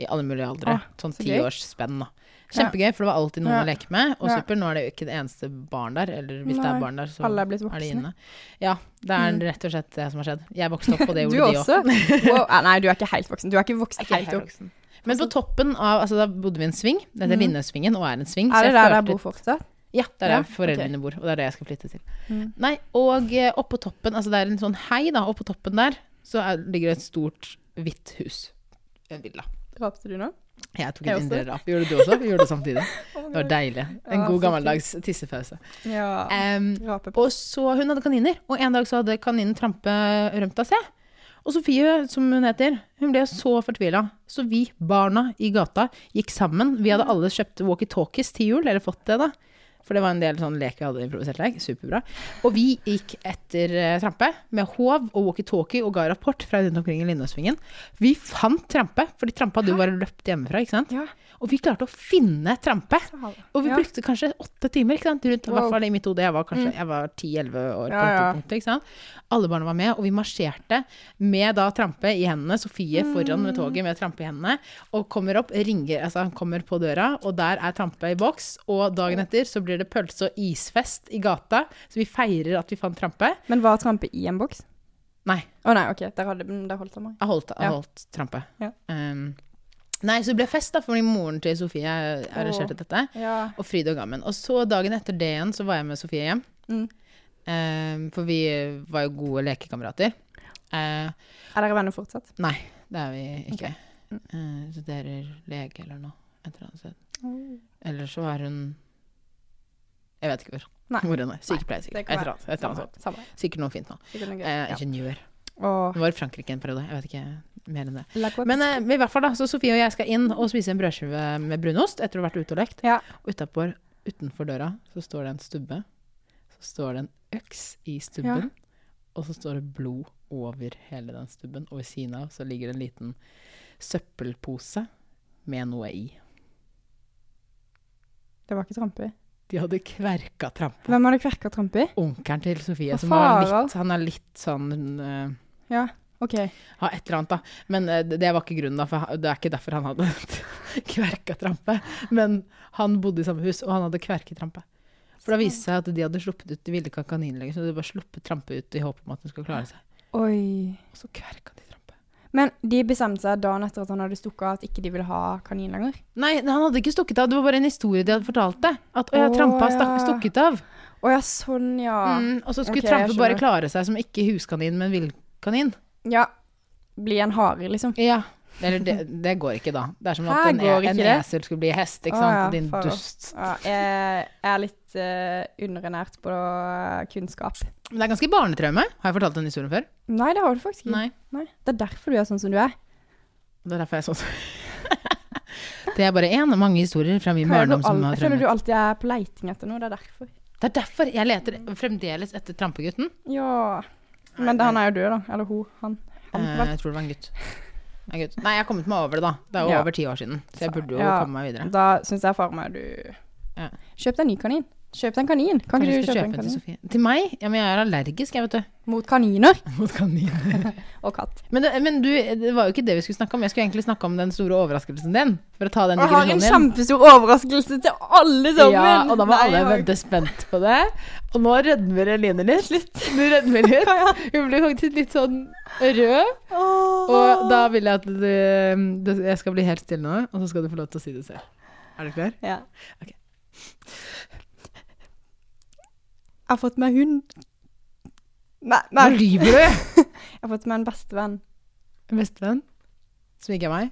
Speaker 2: I alle mulige aldre.
Speaker 3: Ah,
Speaker 2: sånn
Speaker 3: så gøy.
Speaker 2: tiårsspenn, da. Kjempegøy, for det var alltid noen
Speaker 3: Ja.
Speaker 2: å leke med. Og
Speaker 3: Ja.
Speaker 2: super, nå er det jo ikke det eneste barn der. Eller hvis det
Speaker 3: Nei,
Speaker 2: er barn der, så
Speaker 3: Alle er blitt
Speaker 2: er de
Speaker 3: voksne.
Speaker 2: inne. Ja, det er
Speaker 3: Mm.
Speaker 2: rett og slett det som har skjedd. Jeg vokste opp, og det
Speaker 3: Du
Speaker 2: gjorde de òg.
Speaker 3: også? Wow. Ah, Nei, du er ikke helt voksen. Du er ikke voksen helt opp.
Speaker 2: Men på toppen av Altså, da bodde vi i en sving. Dette
Speaker 3: Mhm.
Speaker 2: er Vinnesvingen, og er en sving.
Speaker 3: Er
Speaker 2: så
Speaker 3: det
Speaker 2: jeg
Speaker 3: der
Speaker 2: følte
Speaker 3: jeg bor fortsatt?
Speaker 2: Ja, det er
Speaker 3: Ja,
Speaker 2: der foreldrene
Speaker 3: ok.
Speaker 2: mine bor, og det er det jeg skal flytte til.
Speaker 3: Mm.
Speaker 2: Nei, og eh, oppå toppen, altså det er en sånn hei da, oppå toppen der, så er, ligger det et stort hvitt hus. En villa.
Speaker 3: Rapte du nå?
Speaker 2: Jeg tok
Speaker 3: Jeg
Speaker 2: en
Speaker 3: også.
Speaker 2: indre rap. Gjorde du også? Vi gjorde det samtidig. Det var deilig. En
Speaker 3: Ja, så
Speaker 2: god gammeldags tissepause.
Speaker 3: Ja.
Speaker 2: Em,
Speaker 3: Rape på.
Speaker 2: og så hun hadde kaniner, og en dag så hadde kaninen Trampe rømt av seg. Og Sofie, som hun heter, hun ble så fortvila. Så vi barna i gata gikk sammen. Vi hadde alle kjøpt walkietalkies til jul, eller fått det, da. For det var en del sånn lek vi hadde improvisert lek. Superbra. Og vi gikk etter eh, Trampe med håv og walkietalkie og ga rapport fra rundt omkring i Lindåsvingen. Vi fant Trampe, fordi Trampe hadde jo bare løpt hjemmefra, ikke sant.
Speaker 3: Ja.
Speaker 2: Og vi klarte å finne Trampe. Og vi
Speaker 3: Ja.
Speaker 2: brukte kanskje åtte timer, ikke sant? Rundt, i
Speaker 3: Wow. Mm.
Speaker 2: hvert fall i mitt hode. Jeg var kanskje jeg var 10-11 år på
Speaker 3: Ja,
Speaker 2: dette
Speaker 3: ja.
Speaker 2: punktet, ikke sant? Alle barna var med, og vi marsjerte med da trampe i hendene. Sofie foran
Speaker 3: Mm.
Speaker 2: med toget med trampe i hendene, og kommer opp, ringer, altså han kommer på døra, og der er trampe i boks. Og dagen etter så blir det pølse og isfest i gata, så vi feirer at vi fant trampe.
Speaker 3: Men var trampe i en boks?
Speaker 2: Nei,
Speaker 3: Å nei, OK. Der, hadde, men der holdt han meg.
Speaker 2: jeg holdt, jeg
Speaker 3: Ja.
Speaker 2: holdt trampe.
Speaker 3: Ja.
Speaker 2: Um, nei, så det ble fest da, fordi moren til Sofie arrangerte dette.
Speaker 3: Ja.
Speaker 2: Og fryd og gammen. Og så dagen etter det igjen, så var jeg med Sofie hjem.
Speaker 3: Mm.
Speaker 2: Eh, for vi var jo gode lekekamerater. Eh,
Speaker 3: Er dere venner fortsatt?
Speaker 2: nei, det er vi ikke.
Speaker 3: Ok. Mm.
Speaker 2: Eh, studerer lege eller noe et eller annet sted. Eller så er hun Jeg vet ikke hvor.
Speaker 3: Nei.
Speaker 2: Hvor hun er. Sykepleier,
Speaker 3: Det
Speaker 2: sikkert. Et
Speaker 3: kan
Speaker 2: eller annet. Et eller annet sånt.
Speaker 3: Samme.
Speaker 2: Sikkert noe fint nå.
Speaker 3: Sikkert noe gøy.
Speaker 2: Eh,
Speaker 3: Ja.
Speaker 2: ingeniør.
Speaker 3: Og
Speaker 2: Hun var i Frankrike en periode. Jeg vet ikke mer enn det.
Speaker 3: La Cote.
Speaker 2: Men eh, i hvert fall da, så Sofie og jeg skal inn og spise en brødskive med brunost etter å ha vært ute og lekt.
Speaker 3: Ja.
Speaker 2: Og utenfor, utenfor døra så står det en stubbe. Så står det en øks i
Speaker 3: Ja.
Speaker 2: stubben, og så står det blod over hele den stubben. Og ved siden av så ligger det en liten søppelpose med noe i.
Speaker 3: Det var ikke trampe.
Speaker 2: De hadde kverka trampa.
Speaker 3: Hvem hadde kverka trampe?
Speaker 2: Onkelen til Sofie,
Speaker 3: Hva
Speaker 2: som var
Speaker 3: faen?
Speaker 2: litt, han er litt sånn eh,
Speaker 3: Ja, OK.
Speaker 2: Ja, et eller annet, da. Men eh, det det var ikke grunnen, da. For han- det er ikke derfor han hadde kverka trampe. Men han bodde i samme hus, og han hadde kverketrampe. For da viste det seg at de hadde sluppet ut De ville ikke ha kanin lenger, så de hadde bare sluppet trampe ut i håp om at hun skulle klare seg.
Speaker 3: Oi.
Speaker 2: Og så kverka de trampe.
Speaker 3: Men de bestemte seg dagen etter at han hadde stukket av, at ikke de ville ha kanin lenger.
Speaker 2: Nei, han hadde ikke stukket av. Det var bare en historie de hadde fortalt det. At å,
Speaker 3: Å,
Speaker 2: jeg trampa stakk,
Speaker 3: ja.
Speaker 2: stukket av.
Speaker 3: Å ja, sånn, ja.
Speaker 2: Mm, og så skulle
Speaker 3: Ok, jeg
Speaker 2: trampe bare
Speaker 3: skjønner.
Speaker 2: klare seg som ikke huskanin, men villkanin.
Speaker 3: Ja. Bli en hare, liksom.
Speaker 2: Ja. Eller det, det går ikke, da. Det er som
Speaker 3: Hæ,
Speaker 2: at en,
Speaker 3: går
Speaker 2: e- en
Speaker 3: ikke det?
Speaker 2: esel skulle bli hest, ikke
Speaker 3: Å,
Speaker 2: sant.
Speaker 3: ja,
Speaker 2: Din
Speaker 3: faen.
Speaker 2: dust.
Speaker 3: Ja, jeg er litt eh, underernært på kunnskap.
Speaker 2: Men det er ganske barnetraume. Har jeg fortalt den historien før?
Speaker 3: Nei, det har du faktisk ikke.
Speaker 2: Nei.
Speaker 3: Nei. Det er derfor du er sånn som du er.
Speaker 2: Det er derfor jeg er sånn. det er bare én av mange historier fra min
Speaker 3: Hva er det
Speaker 2: barndom
Speaker 3: du
Speaker 2: som
Speaker 3: al-
Speaker 2: har
Speaker 3: jeg føler du
Speaker 2: traumer.
Speaker 3: alltid er på leiting etter noe. Det er derfor.
Speaker 2: Det er derfor jeg leter fremdeles etter trampegutten.
Speaker 3: Ja. Men det, han er jo død, da. Eller hun. Han. han
Speaker 2: Eh,
Speaker 3: vel.
Speaker 2: jeg tror det var en gutt. En gutt. Nei, jeg har kommet meg over det, da. Det er jo
Speaker 3: Ja.
Speaker 2: over ti år siden. Så jeg
Speaker 3: Så,
Speaker 2: burde jo
Speaker 3: ja.
Speaker 2: komme meg videre.
Speaker 3: Da syns jeg faren meg du
Speaker 2: Ja.
Speaker 3: Kjøp deg en ny kanin. Kjøp deg en kanin. Kan
Speaker 2: Kanskje
Speaker 3: ikke
Speaker 2: jeg
Speaker 3: du
Speaker 2: skal
Speaker 3: kjøpe en
Speaker 2: kjøpe en til
Speaker 3: kanin?
Speaker 2: Sofie? Til meg? Ja, men jeg er allergisk, jeg, vet du.
Speaker 3: Mot kaniner
Speaker 2: Mot kaniner.
Speaker 3: og katt.
Speaker 2: Men, det, men du, det var jo ikke det vi skulle snakke om. Jeg skulle egentlig snakke om den store overraskelsen din. For å ta den
Speaker 3: Og jeg har en
Speaker 2: digresjonen din.
Speaker 3: kjempestor overraskelse til alle sammen!
Speaker 2: Ja, og da var
Speaker 3: Nei,
Speaker 2: alle
Speaker 3: jeg har-
Speaker 2: veldig spent på det. Og nå rødmer Eline litt. Du rødmer litt. Hun blir faktisk litt sånn rød. Og da vil jeg at du, du Jeg skal bli helt stille nå, og så skal du få lov til å si det selv. Er du klar?
Speaker 3: Ja.
Speaker 2: Ok.
Speaker 3: Jeg har fått meg hund. Nei, nei.
Speaker 2: Nå lyver du!
Speaker 3: Jeg har fått meg en bestevenn.
Speaker 2: Bestevenn. Som ikke er meg.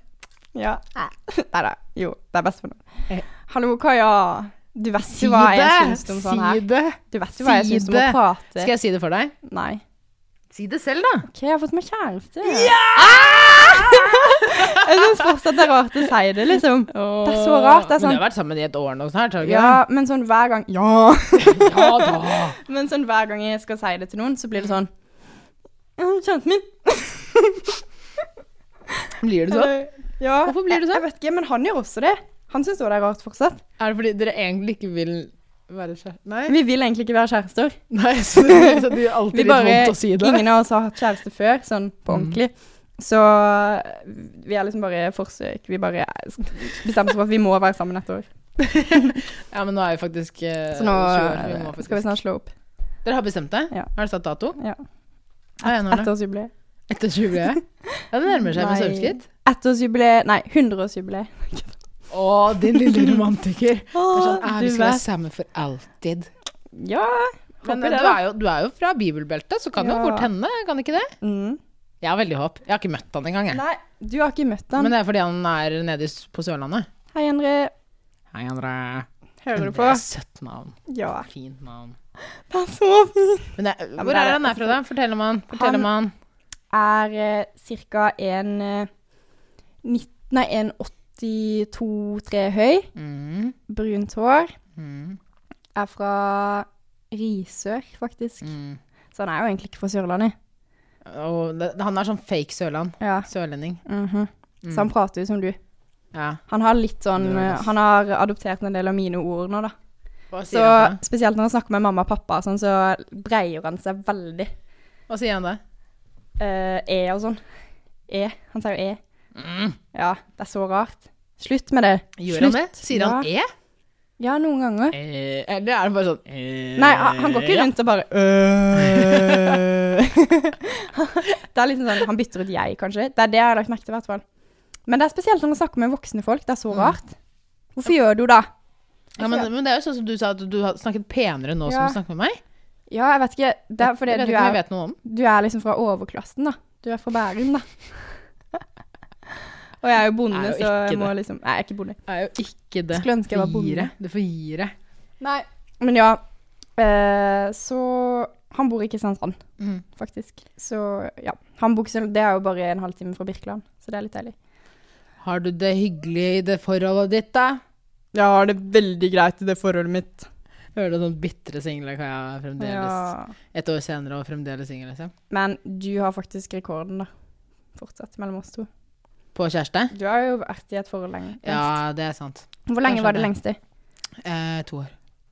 Speaker 3: Ja. Nei da. Jo, det er bestevenn.
Speaker 2: Eh.
Speaker 3: Hallo, Kaja. Du vet
Speaker 2: Si
Speaker 3: jo hva jeg
Speaker 2: det!
Speaker 3: syns om
Speaker 2: Si
Speaker 3: sånn her.
Speaker 2: det!
Speaker 3: Du vet jo hva jeg
Speaker 2: Si
Speaker 3: syns om å
Speaker 2: det!
Speaker 3: prate.
Speaker 2: Skal jeg si det for deg?
Speaker 3: Nei.
Speaker 2: Si det selv, da.
Speaker 3: OK, jeg har fått meg kjæreste. jeg syns fortsatt det er rart å si det, liksom.
Speaker 2: Det
Speaker 3: er så rart, det
Speaker 2: Men
Speaker 3: er sånn-
Speaker 2: dere har vært sammen i et år nå snart, har dere
Speaker 3: Ja, men sånn hver gang Ja!
Speaker 2: ikke det? Ja da.
Speaker 3: Men sånn hver gang jeg skal si det til noen, så blir det sånn «Ja, Kjæresten min.
Speaker 2: Blir det sånn?
Speaker 3: Ja.
Speaker 2: Hvorfor blir det
Speaker 3: Jeg,
Speaker 2: sånn?
Speaker 3: jeg vet ikke, men han gjør også det. Han syns også det er rart fortsatt.
Speaker 2: Er det fordi dere egentlig ikke vil være kjærester? Nei.
Speaker 3: Vi vil egentlig ikke være kjærester.
Speaker 2: Nei, så det så det er alltid
Speaker 3: Vi
Speaker 2: litt
Speaker 3: bare,
Speaker 2: vondt å si det.
Speaker 3: Ingen av oss har hatt kjæreste før, sånn
Speaker 2: Mm.
Speaker 3: på ordentlig. Så vi er liksom bare forsøk. Vi bare bestemte oss for at vi må være sammen et år.
Speaker 2: Ja, men nå er vi faktisk eh,
Speaker 3: Så
Speaker 2: 20
Speaker 3: nå
Speaker 2: år, så vi må faktisk.
Speaker 3: skal vi snart slå opp.
Speaker 2: Dere har bestemt det?
Speaker 3: Ja.
Speaker 2: Har dere satt dato?
Speaker 3: Ja.
Speaker 2: Nei, nå er det.
Speaker 3: Ettårsjubileet.
Speaker 2: Etter 20-året? Ja, det nærmer seg med
Speaker 3: Nei.
Speaker 2: sorgskritt.
Speaker 3: Ettårsjubileet Nei, hundreårsjubileet.
Speaker 2: Å, din lille romantiker. Det er sånn, eh,
Speaker 3: Du
Speaker 2: vi skal være
Speaker 3: vet.
Speaker 2: sammen for alltid.
Speaker 3: Ja.
Speaker 2: Men
Speaker 3: Håper
Speaker 2: eh,
Speaker 3: det,
Speaker 2: du
Speaker 3: da.
Speaker 2: er, jo, du er jo fra bibelbeltet, så kan det
Speaker 3: Ja.
Speaker 2: jo fort hende, kan det ikke det?
Speaker 3: Mm.
Speaker 2: Jeg har veldig håp. Jeg har ikke møtt han engang, jeg.
Speaker 3: Nei, du har ikke møtt han.
Speaker 2: Men det er fordi han er nede i s- på Sørlandet.
Speaker 3: Hei, André.
Speaker 2: Hei, André.
Speaker 3: Hører du
Speaker 2: André
Speaker 3: på?
Speaker 2: er Søtt navn.
Speaker 3: Ja.
Speaker 2: Fint navn.
Speaker 3: Det er så fint.
Speaker 2: Men det, er-
Speaker 3: men
Speaker 2: hvor
Speaker 3: det er- altså-
Speaker 2: er han her fra, da? Fortell om han. Fortell om han.
Speaker 3: Er eh, ca. en eh, 19, Nei, en 82-3 høy.
Speaker 2: Mm,
Speaker 3: Brunt hår.
Speaker 2: mm,
Speaker 3: Er fra Risør, faktisk.
Speaker 2: mm.
Speaker 3: Så han er jo egentlig ikke fra Sørlandet.
Speaker 2: Og det, han er sånn fake Sørland.
Speaker 3: Ja.
Speaker 2: Sørlending.
Speaker 3: mhm.
Speaker 2: Mm.
Speaker 3: Så han prater jo som du.
Speaker 2: Ja.
Speaker 3: Han har litt sånn
Speaker 2: Det er det.
Speaker 3: Han har adoptert en del av mine ord nå, da.
Speaker 2: Hva sier,
Speaker 3: Så
Speaker 2: han da?
Speaker 3: spesielt når han snakker med mamma og pappa, og sånn, så dreier han seg veldig.
Speaker 2: Hva sier han da?
Speaker 3: Eh, e og sånn. E. Han sier jo e.
Speaker 2: Mm.
Speaker 3: Ja, det er så rart. Slutt med det.
Speaker 2: Gjør
Speaker 3: Slutt.
Speaker 2: han det? Sier han e?
Speaker 3: Ja, noen ganger.
Speaker 2: Eh, Eller er det bare sånn eh,
Speaker 3: Nei, han han går ikke
Speaker 2: ja.
Speaker 3: rundt og bare øh. Det er liksom sånn, Han bytter ut jeg, kanskje. Det er det jeg har lagt merke til. i hvert fall. Men det er spesielt når man snakker med voksne folk. Det er så rart. Hvorfor gjør du det?
Speaker 2: Ja, men, men det er jo sånn som du sa, at du har snakket penere nå
Speaker 3: Ja.
Speaker 2: som du snakker med meg.
Speaker 3: Ja, jeg vet ikke. Det er fordi
Speaker 2: jeg vet
Speaker 3: du
Speaker 2: ikke om jeg
Speaker 3: er,
Speaker 2: vet noe om.
Speaker 3: du er liksom fra overklassen, da. Du er fra Bærum, da. Og jeg er jo bonde,
Speaker 2: Jeg er jo
Speaker 3: så jeg
Speaker 2: ikke
Speaker 3: må
Speaker 2: det.
Speaker 3: liksom Nei, jeg er ikke bonde.
Speaker 2: Er jo ikke det.
Speaker 3: Skulle ønske jeg var
Speaker 2: Får gi
Speaker 3: bonde.
Speaker 2: deg. Du får gi deg.
Speaker 3: Nei. Men ja. Eh, så Han bor i Kristiansand.
Speaker 2: Mm.
Speaker 3: faktisk. Så ja. Hamburgsel, det er jo bare en halvtime fra Birkeland, så det er litt deilig.
Speaker 2: Har du det hyggelig i det forholdet ditt, da?
Speaker 3: Jeg har det veldig greit i det forholdet mitt.
Speaker 2: Hører du sånn bitre singler kan jeg fremdeles
Speaker 3: Ja.
Speaker 2: Et år senere og fremdeles singel, liksom.
Speaker 3: Men du har faktisk rekorden, da. Fortsatt mellom oss to.
Speaker 2: På kjæreste?
Speaker 3: Du har jo vært i et forhold lenge. lengst.
Speaker 2: Ja, det er sant.
Speaker 3: Hvor lenge
Speaker 2: kanskje
Speaker 3: var det
Speaker 2: det.
Speaker 3: lengste?
Speaker 2: Eh, to år.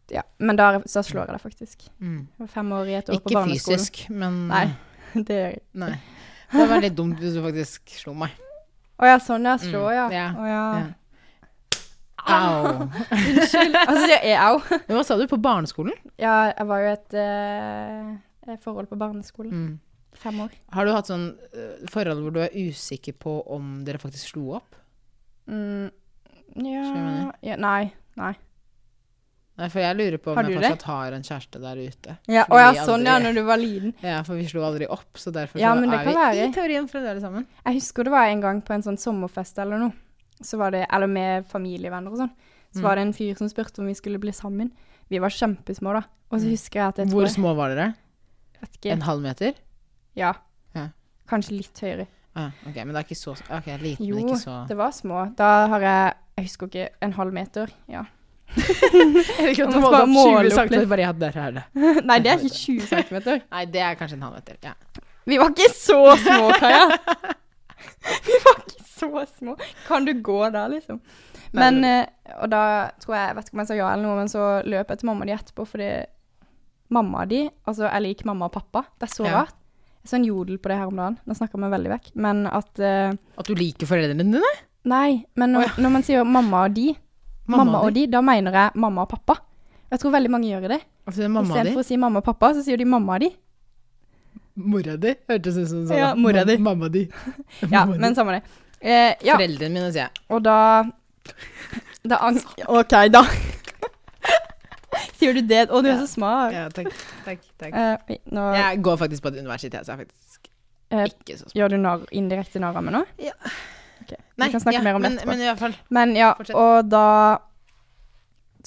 Speaker 3: Ja. Men da så slår jeg deg faktisk.
Speaker 2: Mm.
Speaker 3: Jeg var Fem år i et år på
Speaker 2: Ikke
Speaker 3: barneskolen.
Speaker 2: fysisk, men
Speaker 3: Nei, det gjør jeg.
Speaker 2: Nei. Det var litt dumt hvis du faktisk slo meg.
Speaker 3: Å ja, sånn ja. Slå,
Speaker 2: Mm,
Speaker 3: ja.
Speaker 2: ja,
Speaker 3: Å ja.
Speaker 2: ja. Au.
Speaker 3: Altså, sier jeg au.
Speaker 2: Men hva sa du? På barneskolen?
Speaker 3: Ja, jeg var jo i et eh, forhold på barneskolen.
Speaker 2: Mm.
Speaker 3: Fem år.
Speaker 2: Har du hatt sånn eh, forhold hvor du er usikker på om dere faktisk slo opp?
Speaker 3: Mm,
Speaker 2: Skjønner
Speaker 3: ja, ja Nei. Nei.
Speaker 2: Nei, for jeg lurer på om
Speaker 3: Har
Speaker 2: jeg
Speaker 3: du
Speaker 2: fortsatt har en kjæreste der ute.
Speaker 3: Ja,
Speaker 2: For
Speaker 3: og ja,
Speaker 2: vi
Speaker 3: sånn ja,
Speaker 2: aldri-
Speaker 3: når du var liten.
Speaker 2: Ja, for vi slo aldri opp, så derfor
Speaker 3: Ja,
Speaker 2: så
Speaker 3: men det
Speaker 2: er vi
Speaker 3: kan være.
Speaker 2: i teorien fremdeles sammen.
Speaker 3: Jeg husker det var en gang på en sånn sommerfest eller noe, så var det, eller med familievenner og sånn,
Speaker 2: Mm.
Speaker 3: så var det en fyr som spurte om vi skulle bli sammen. Vi var kjempesmå da, og så
Speaker 2: Mm.
Speaker 3: husker jeg at jeg
Speaker 2: Hvor
Speaker 3: tror,
Speaker 2: små var dere?
Speaker 3: jeg vet
Speaker 2: En
Speaker 3: ikke,
Speaker 2: halv meter?
Speaker 3: ja,
Speaker 2: Ja.
Speaker 3: kanskje litt høyere.
Speaker 2: Ah, ok, men det er ikke så Ok, liten,
Speaker 3: Jo,
Speaker 2: men ikke så
Speaker 3: det var små. Da har jeg, jeg husker ikke, en halv meter, ja.
Speaker 2: Jeg liker at du
Speaker 3: Man skal
Speaker 2: målte opp
Speaker 3: måle
Speaker 2: 20
Speaker 3: opp
Speaker 2: centimeter,
Speaker 3: litt.
Speaker 2: bare ja, der er det.
Speaker 3: Nei, det er ikke 20 centimeter.
Speaker 2: Nei, det er kanskje en halvmeter. Ja.
Speaker 3: Vi var ikke så små, Kaja. Vi var ikke så små. Kan du gå der, liksom?
Speaker 2: Nei,
Speaker 3: Men, eh, og da tror jeg, jeg vet ikke om jeg sa ja eller noe, men så løp jeg til mamma di etterpå, fordi mamma di, altså jeg liker mamma og pappa, det er så
Speaker 2: Ja.
Speaker 3: rart. Jeg så en jodel på det her om dagen, nå snakker jeg meg veldig vekk, men at, eh,
Speaker 2: At du liker foreldrene dine?
Speaker 3: nei, men når, når man sier mamma og di, mamma, og di, da mener jeg mamma og pappa. Jeg tror veldig mange gjør det.
Speaker 2: Altså, det er
Speaker 3: I
Speaker 2: mamma
Speaker 3: stedet
Speaker 2: di?
Speaker 3: for å si mamma og pappa, så sier de mamma og di.
Speaker 2: Mora di? Hørtes ut som sånn.
Speaker 3: Ja, mora di.
Speaker 2: Ma- Mamma di.
Speaker 3: Ja,
Speaker 2: Mamma di.
Speaker 3: men samme det. Eh, ja.
Speaker 2: Foreldrene mine, sier jeg.
Speaker 3: Og da Da ang... OK, da. Sier du det? Å, du er så smart.
Speaker 2: Ja, takk. takk, takk.
Speaker 3: Eh, oi, nå
Speaker 2: Jeg går faktisk på et universitet, så jeg er faktisk
Speaker 3: Eh,
Speaker 2: ikke så smart.
Speaker 3: gjør du narr, indirekte narr av meg nå.
Speaker 2: Ja.
Speaker 3: Ok, Vi kan snakke
Speaker 2: ja,
Speaker 3: mer om det
Speaker 2: men,
Speaker 3: etterpå.
Speaker 2: men i hvert fall
Speaker 3: Men ja,
Speaker 2: Fortsett.
Speaker 3: og da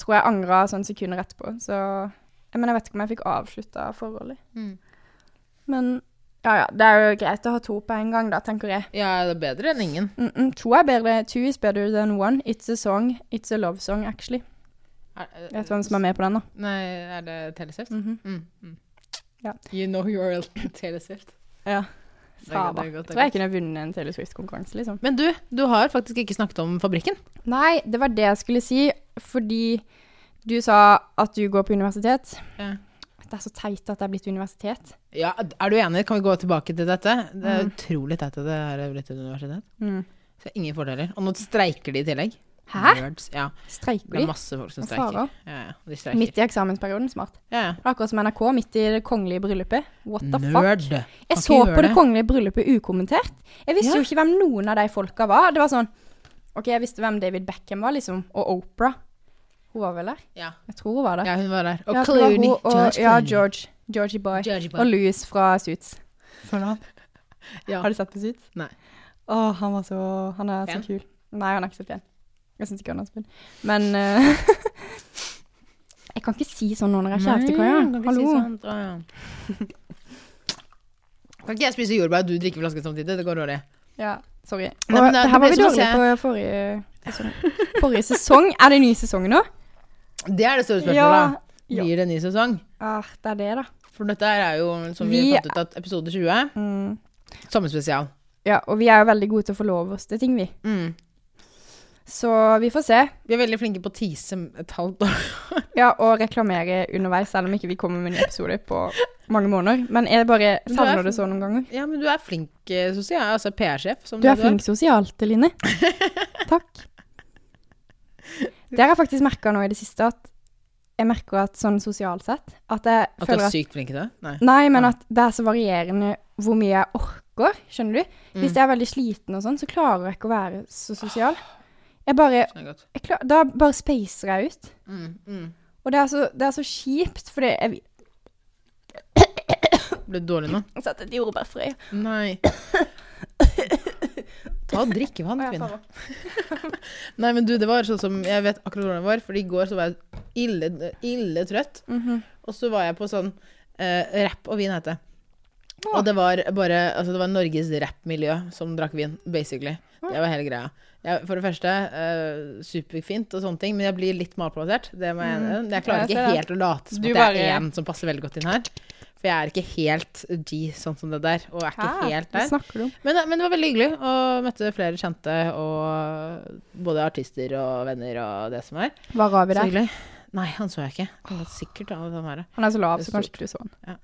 Speaker 3: tror jeg angra sånn sekunder etterpå. Så jeg, men jeg vet ikke om jeg fikk avslutta forholdet.
Speaker 2: Mm.
Speaker 3: Men ja, ja. Det er jo greit å ha to på en gang, da, tenker jeg.
Speaker 2: Ja, det er bedre enn ingen.
Speaker 3: Mm -mm, to er bedre. Two is better than one. It's a song. It's a love song, actually. Vet du hvem som er med på den, da?
Speaker 2: Nei, er det Teleswift?
Speaker 3: Mhm.
Speaker 2: Mm. Mm.
Speaker 3: Ja.
Speaker 2: You know you're a Teleswift.
Speaker 3: Ja.
Speaker 2: Det er godt,
Speaker 3: Sava.
Speaker 2: det er godt, det er
Speaker 3: Tror jeg kunne vunnet en Taylor Swift-konkurranse, liksom.
Speaker 2: Men du, du har faktisk ikke snakket om fabrikken.
Speaker 3: Nei, det var det jeg skulle si, fordi du sa at du går på universitet.
Speaker 2: Ja.
Speaker 3: Det er så teit at det er blitt universitet.
Speaker 2: Ja, er du enig? Kan vi gå tilbake til dette? Det
Speaker 3: Mm.
Speaker 2: er utrolig teit at det her er blitt et universitet. Så det er ingen fordeler. Og nå streiker de i tillegg.
Speaker 3: Hæ?
Speaker 2: Nerds. Ja, det
Speaker 3: Streiker
Speaker 2: er
Speaker 3: de?
Speaker 2: masse folk som
Speaker 3: Hva
Speaker 2: streiker.
Speaker 3: faen?
Speaker 2: Ja, ja, de streiker.
Speaker 3: Midt i eksamensperioden, smart.
Speaker 2: Ja, ja.
Speaker 3: Det er Akkurat som NRK, midt i det kongelige bryllupet. What the fuck?
Speaker 2: Nerd.
Speaker 3: Jeg
Speaker 2: Kan
Speaker 3: så
Speaker 2: ikke gjøre
Speaker 3: på det
Speaker 2: det.
Speaker 3: kongelige bryllupet ukommentert. Jeg visste
Speaker 2: Ja.
Speaker 3: jo ikke hvem noen av de folka var. Det var sånn OK, jeg visste hvem David Beckham var, liksom. Og Opera. Hun var vel der?
Speaker 2: Ja.
Speaker 3: Jeg tror hun var der.
Speaker 2: ja, hun var der. Og
Speaker 3: Ja, det var
Speaker 2: Clooney.
Speaker 3: hun og, ja,
Speaker 2: Clooney.
Speaker 3: George. Georgie Boy.
Speaker 2: Georgie Boy.
Speaker 3: Og Louis fra Suits.
Speaker 2: Ja.
Speaker 3: Har du sett på Suits?
Speaker 2: Nei.
Speaker 3: Å, han var så Han er
Speaker 2: Pen?
Speaker 3: så kul. Nei, han er ikke så pen. Jeg syns ikke han er så pen. Men eh, Jeg kan ikke si sånn nå når jeg er kjæreste, Kaja.
Speaker 2: Mm,
Speaker 3: Hallo.
Speaker 2: sånn. Kan ikke jeg spise jordbær og du drikker flaske samtidig? Det går dårlig.
Speaker 3: Ja, sorry. Og,
Speaker 2: Nei, men det-
Speaker 3: det, her
Speaker 2: det
Speaker 3: var vi
Speaker 2: blir som å
Speaker 3: dårlige på forrige sesong. Forrige sesong? Er det ny sesong nå?
Speaker 2: Det er det store
Speaker 3: Ja.
Speaker 2: spørsmålet.
Speaker 3: Ja.
Speaker 2: da. Blir det en ny sesong?
Speaker 3: Ah, det er det, da.
Speaker 2: For dette her er jo, som vi,
Speaker 3: Vi-
Speaker 2: fant ut, at episode 20
Speaker 3: Mm.
Speaker 2: sommerspesial.
Speaker 3: Ja, og vi er jo veldig gode til å forlove oss til ting, vi.
Speaker 2: Mm.
Speaker 3: Så vi får se.
Speaker 2: Vi er veldig flinke på å tease et halvt år.
Speaker 3: Ja, og reklamere underveis, selv om ikke vi kommer med en ny episode på mange måneder. Men jeg bare
Speaker 2: Men du er
Speaker 3: savner
Speaker 2: flink.
Speaker 3: det så noen ganger.
Speaker 2: Ja, men du er flink eh, sosial, altså PR-sjef. som
Speaker 3: Du er
Speaker 2: det
Speaker 3: flink sosialt, Eline. Takk. Det har jeg faktisk merka nå i det siste, at jeg merker at sånn sosialt sett At jeg
Speaker 2: At du
Speaker 3: føler
Speaker 2: er
Speaker 3: at
Speaker 2: sykt flink i det? Nei.
Speaker 3: Nei, men
Speaker 2: Ja.
Speaker 3: at det er så varierende hvor mye jeg orker, skjønner du?
Speaker 2: Mm.
Speaker 3: Hvis jeg er veldig sliten og sånn, så klarer jeg ikke å være så sosial. Jeg bare
Speaker 2: Skjønner godt.
Speaker 3: jeg klar, Da bare spacer jeg ut.
Speaker 2: Mm, mm.
Speaker 3: Og det er så, det er så kjipt, fordi jeg
Speaker 2: Ble du dårlig nå?
Speaker 3: vil sette et jordbærfrø i
Speaker 2: Nei. Ta og drikke vann,
Speaker 3: Å, jeg
Speaker 2: kvinne.
Speaker 3: faller.
Speaker 2: Nei, men du, det var sånn som Jeg vet akkurat hvordan det var, for i går så var jeg ille, ille trøtt.
Speaker 3: Mhm.
Speaker 2: Og så var jeg på sånn eh, rapp og vin, het det. Og det var bare Altså, det var Norges rappmiljø som drakk vin, basically. Det var hele greia. Jeg, for det første, eh, superfint og sånne ting, men jeg blir litt malplassert. Det må jeg mm. Jeg klarer
Speaker 3: Jeg ser
Speaker 2: ikke
Speaker 3: det.
Speaker 2: helt å late som
Speaker 3: Du
Speaker 2: at jeg
Speaker 3: bare-
Speaker 2: er én som passer veldig godt inn her. For jeg er ikke helt G sånn som det der, og er ikke
Speaker 3: Hæ?
Speaker 2: helt
Speaker 3: Hva
Speaker 2: der.
Speaker 3: snakker Ah, du om?
Speaker 2: Men, men det var veldig hyggelig, og møtte flere kjente, og både artister og venner og det som er.
Speaker 3: Hva rav
Speaker 2: Så
Speaker 3: i det?
Speaker 2: hyggelig. Nei, han så jeg ikke. Han var sikkert han var her.
Speaker 3: Han er så lav,
Speaker 2: Det
Speaker 3: så
Speaker 2: er
Speaker 3: kanskje ikke du så han.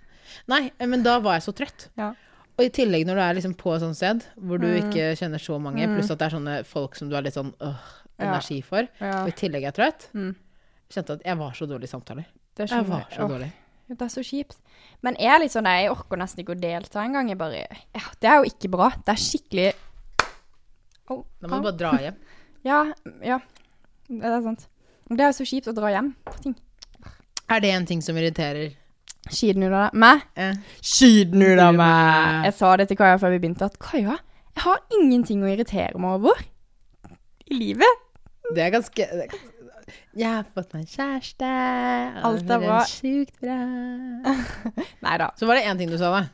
Speaker 2: Nei, men da var jeg så trøtt.
Speaker 3: Ja.
Speaker 2: Og i tillegg når du er liksom på et sånt sted, hvor du
Speaker 3: Mm.
Speaker 2: ikke kjenner så mange,
Speaker 3: Mm.
Speaker 2: pluss at det er sånne folk som du har litt sånn øh,
Speaker 3: Ja.
Speaker 2: energi for,
Speaker 3: Ja.
Speaker 2: og i tillegg er jeg trøtt,
Speaker 3: Mm.
Speaker 2: kjente at jeg var så dårlig i samtaler. Jeg
Speaker 3: Det skjønner
Speaker 2: var
Speaker 3: jeg.
Speaker 2: så
Speaker 3: Åh,
Speaker 2: dårlig.
Speaker 3: Det er så kjipt. Men jeg er litt sånn, nei, jeg orker nesten ikke å delta engang. Jeg bare, ja, det er jo ikke bra. Det er skikkelig... Au,
Speaker 2: Da må
Speaker 3: au.
Speaker 2: du bare dra hjem.
Speaker 3: Ja, ja. Det er sant. Men Det er jo så kjipt å dra hjem på ting.
Speaker 2: Er det en ting som irriterer? Eh,
Speaker 3: Skidnudler meg.
Speaker 2: Skidnudler
Speaker 3: Jeg sa det til Kaja før vi begynte, at Kaja, jeg har ingenting å irritere meg over i livet.
Speaker 2: Det er ganske det er ganske- Jeg har fått meg kjæreste.
Speaker 3: Alt er bra.
Speaker 2: Sjukt bra.
Speaker 3: Nei da.
Speaker 2: Så var det én ting du sa, da.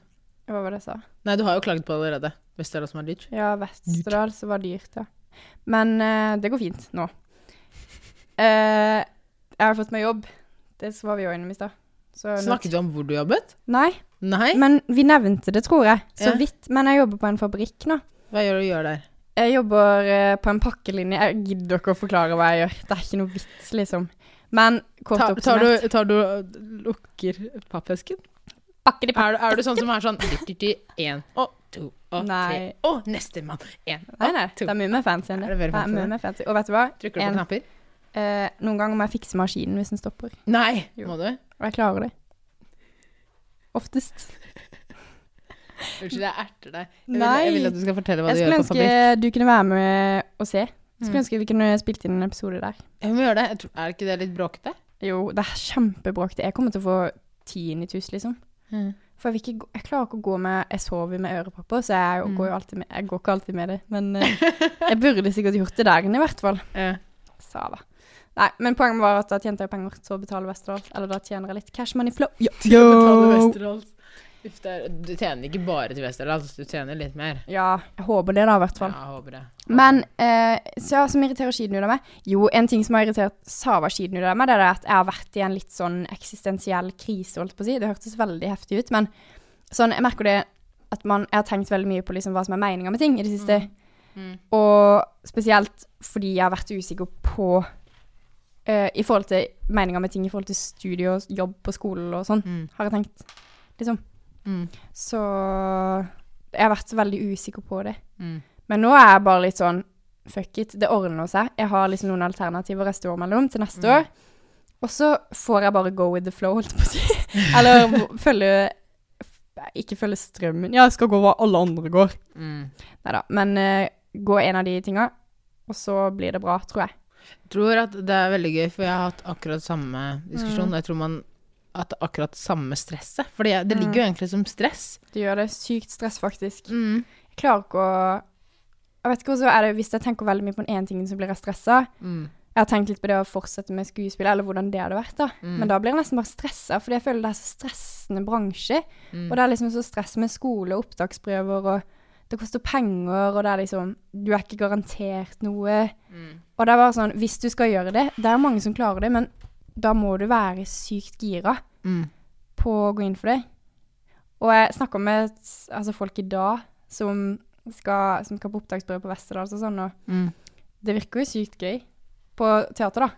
Speaker 3: Hva var det jeg sa?
Speaker 2: Nei, du har jo klaget på det allerede. Vesterålen som er dyrt.
Speaker 3: Ja, Vesterdal, så var det dyrt, ja. Men eh, det går fint nå. Eh, jeg har fått meg jobb. Det var vi jo innom i stad. Så nå-
Speaker 2: Snakket du om hvor du jobbet?
Speaker 3: Nei,
Speaker 2: Nei?
Speaker 3: men vi nevnte det, tror jeg. Så
Speaker 2: Ja.
Speaker 3: vidt. Men jeg jobber på en fabrikk nå.
Speaker 2: Hva gjør du gjør der?
Speaker 3: Jeg jobber eh, på en pakkelinje. Jeg gidder ikke å forklare hva jeg gjør. Det er ikke noe vits, liksom. Men kort
Speaker 2: Tar, tar,
Speaker 3: oppsummert
Speaker 2: du, tar du Lukker pappesken?
Speaker 3: Pakke de
Speaker 2: Er, du- er du sånn som er sånn Én og to og
Speaker 3: Nei.
Speaker 2: tre og nestemann. Én
Speaker 3: Nei, nei.
Speaker 2: to.
Speaker 3: Det er mye mer fancy enn det.
Speaker 2: Er det veldig
Speaker 3: Det
Speaker 2: fancy,
Speaker 3: er
Speaker 2: det?
Speaker 3: mye mer fancy. Og vet du hva?
Speaker 2: Trykker du på
Speaker 3: En-
Speaker 2: knapper?
Speaker 3: Eh, noen ganger må jeg fikse maskinen hvis den stopper.
Speaker 2: Nei!
Speaker 3: Jo.
Speaker 2: Må du?
Speaker 3: Og jeg klarer det. Oftest.
Speaker 2: Unnskyld, jeg erter deg. Jeg vil,
Speaker 3: Nei.
Speaker 2: jeg vil at du skal fortelle hva
Speaker 3: Jeg
Speaker 2: du
Speaker 3: skulle
Speaker 2: gjør på
Speaker 3: ønske
Speaker 2: fabrikk.
Speaker 3: du kunne være med og se. Jeg
Speaker 2: Mm.
Speaker 3: skulle ønske vi kunne spilt inn en episode der.
Speaker 2: Jeg må gjøre det. Jeg tror, er ikke det litt bråkete?
Speaker 3: Jo, det er kjempebråk. Jeg kommer til å få tinnitus, liksom.
Speaker 2: Mm.
Speaker 3: For jeg, vil ikke, gå- jeg klarer ikke å gå med Jeg sover med ørepropper, så jeg,
Speaker 2: Mm.
Speaker 3: går jo alltid med, jeg går ikke alltid med det. Men eh, jeg burde sikkert gjort det der inne, i hvert fall.
Speaker 2: Ja.
Speaker 3: Sava. Nei, men poenget var at da tjente jeg penger, så betaler Westerdal. Eller da tjener jeg litt cash money flow. Ja.
Speaker 2: Uff, det er, du tjener ikke bare til Westerdals, du tjener litt mer.
Speaker 3: ja, jeg håper det, da, i hvert
Speaker 2: Ja,
Speaker 3: fall.
Speaker 2: jeg håper det.
Speaker 3: Sånn. Men eh, så, ja, som irriterer skiten ut av meg Jo, en ting som har irritert Sava skiten ut av meg, det er det at jeg har vært i en litt sånn eksistensiell krise, holdt på å si. Det hørtes veldig heftig ut, men sånn, jeg merker det at man Jeg har tenkt veldig mye på liksom hva som er meninga med ting i det siste.
Speaker 2: Mm.
Speaker 3: Og spesielt fordi jeg har vært usikker på eh, I forhold til meninga med ting i forhold til studie og jobb på skolen og sånn,
Speaker 2: Mm.
Speaker 3: har jeg tenkt. Liksom.
Speaker 2: Mm.
Speaker 3: Så jeg har vært veldig usikker på det.
Speaker 2: Mm.
Speaker 3: Men nå er jeg bare litt sånn Fuck it, det ordner seg. Jeg har liksom noen alternativer jeg står mellom til neste år. Og så får jeg bare go with the flow, holdt jeg på å si. Eller hvor- følge Ikke følge strømmen. Ja, jeg skal gå hva alle andre går.
Speaker 2: Mm.
Speaker 3: Nei da. Men eh, gå en av de tinga, og så blir det bra, tror jeg.
Speaker 2: tror at det er veldig gøy, for jeg har hatt akkurat samme diskusjon.
Speaker 3: Mm.
Speaker 2: og Jeg tror man at det er akkurat samme stresset. For det,
Speaker 3: Mm.
Speaker 2: det ligger jo egentlig som stress.
Speaker 3: Det gjør det sykt stress, faktisk.
Speaker 2: Mm.
Speaker 3: Jeg klarer ikke å Jeg vet ikke, og så er det hvis jeg tenker veldig mye på den ene tingen, så blir jeg stressa.
Speaker 2: Mm.
Speaker 3: Jeg har tenkt litt på det å fortsette med skuespill, eller hvordan det hadde vært, da.
Speaker 2: Mm.
Speaker 3: Men da blir jeg nesten bare stressa, fordi jeg føler det er så stressende bransje.
Speaker 2: Mm.
Speaker 3: Og det er liksom så stress med skole og opptaksprøver, og det koster penger, og det er liksom Du er ikke garantert noe.
Speaker 2: Mm.
Speaker 3: Og det er bare sånn Hvis du skal gjøre det Det er mange som klarer det, men da må du være sykt gira
Speaker 2: Mm.
Speaker 3: på å gå inn for det. Og jeg snakker med s- altså, folk i dag som skal, som skal på opptaksprøve på Vesterdal og sånn, og
Speaker 2: Mm.
Speaker 3: det virker jo sykt gøy på teater, da.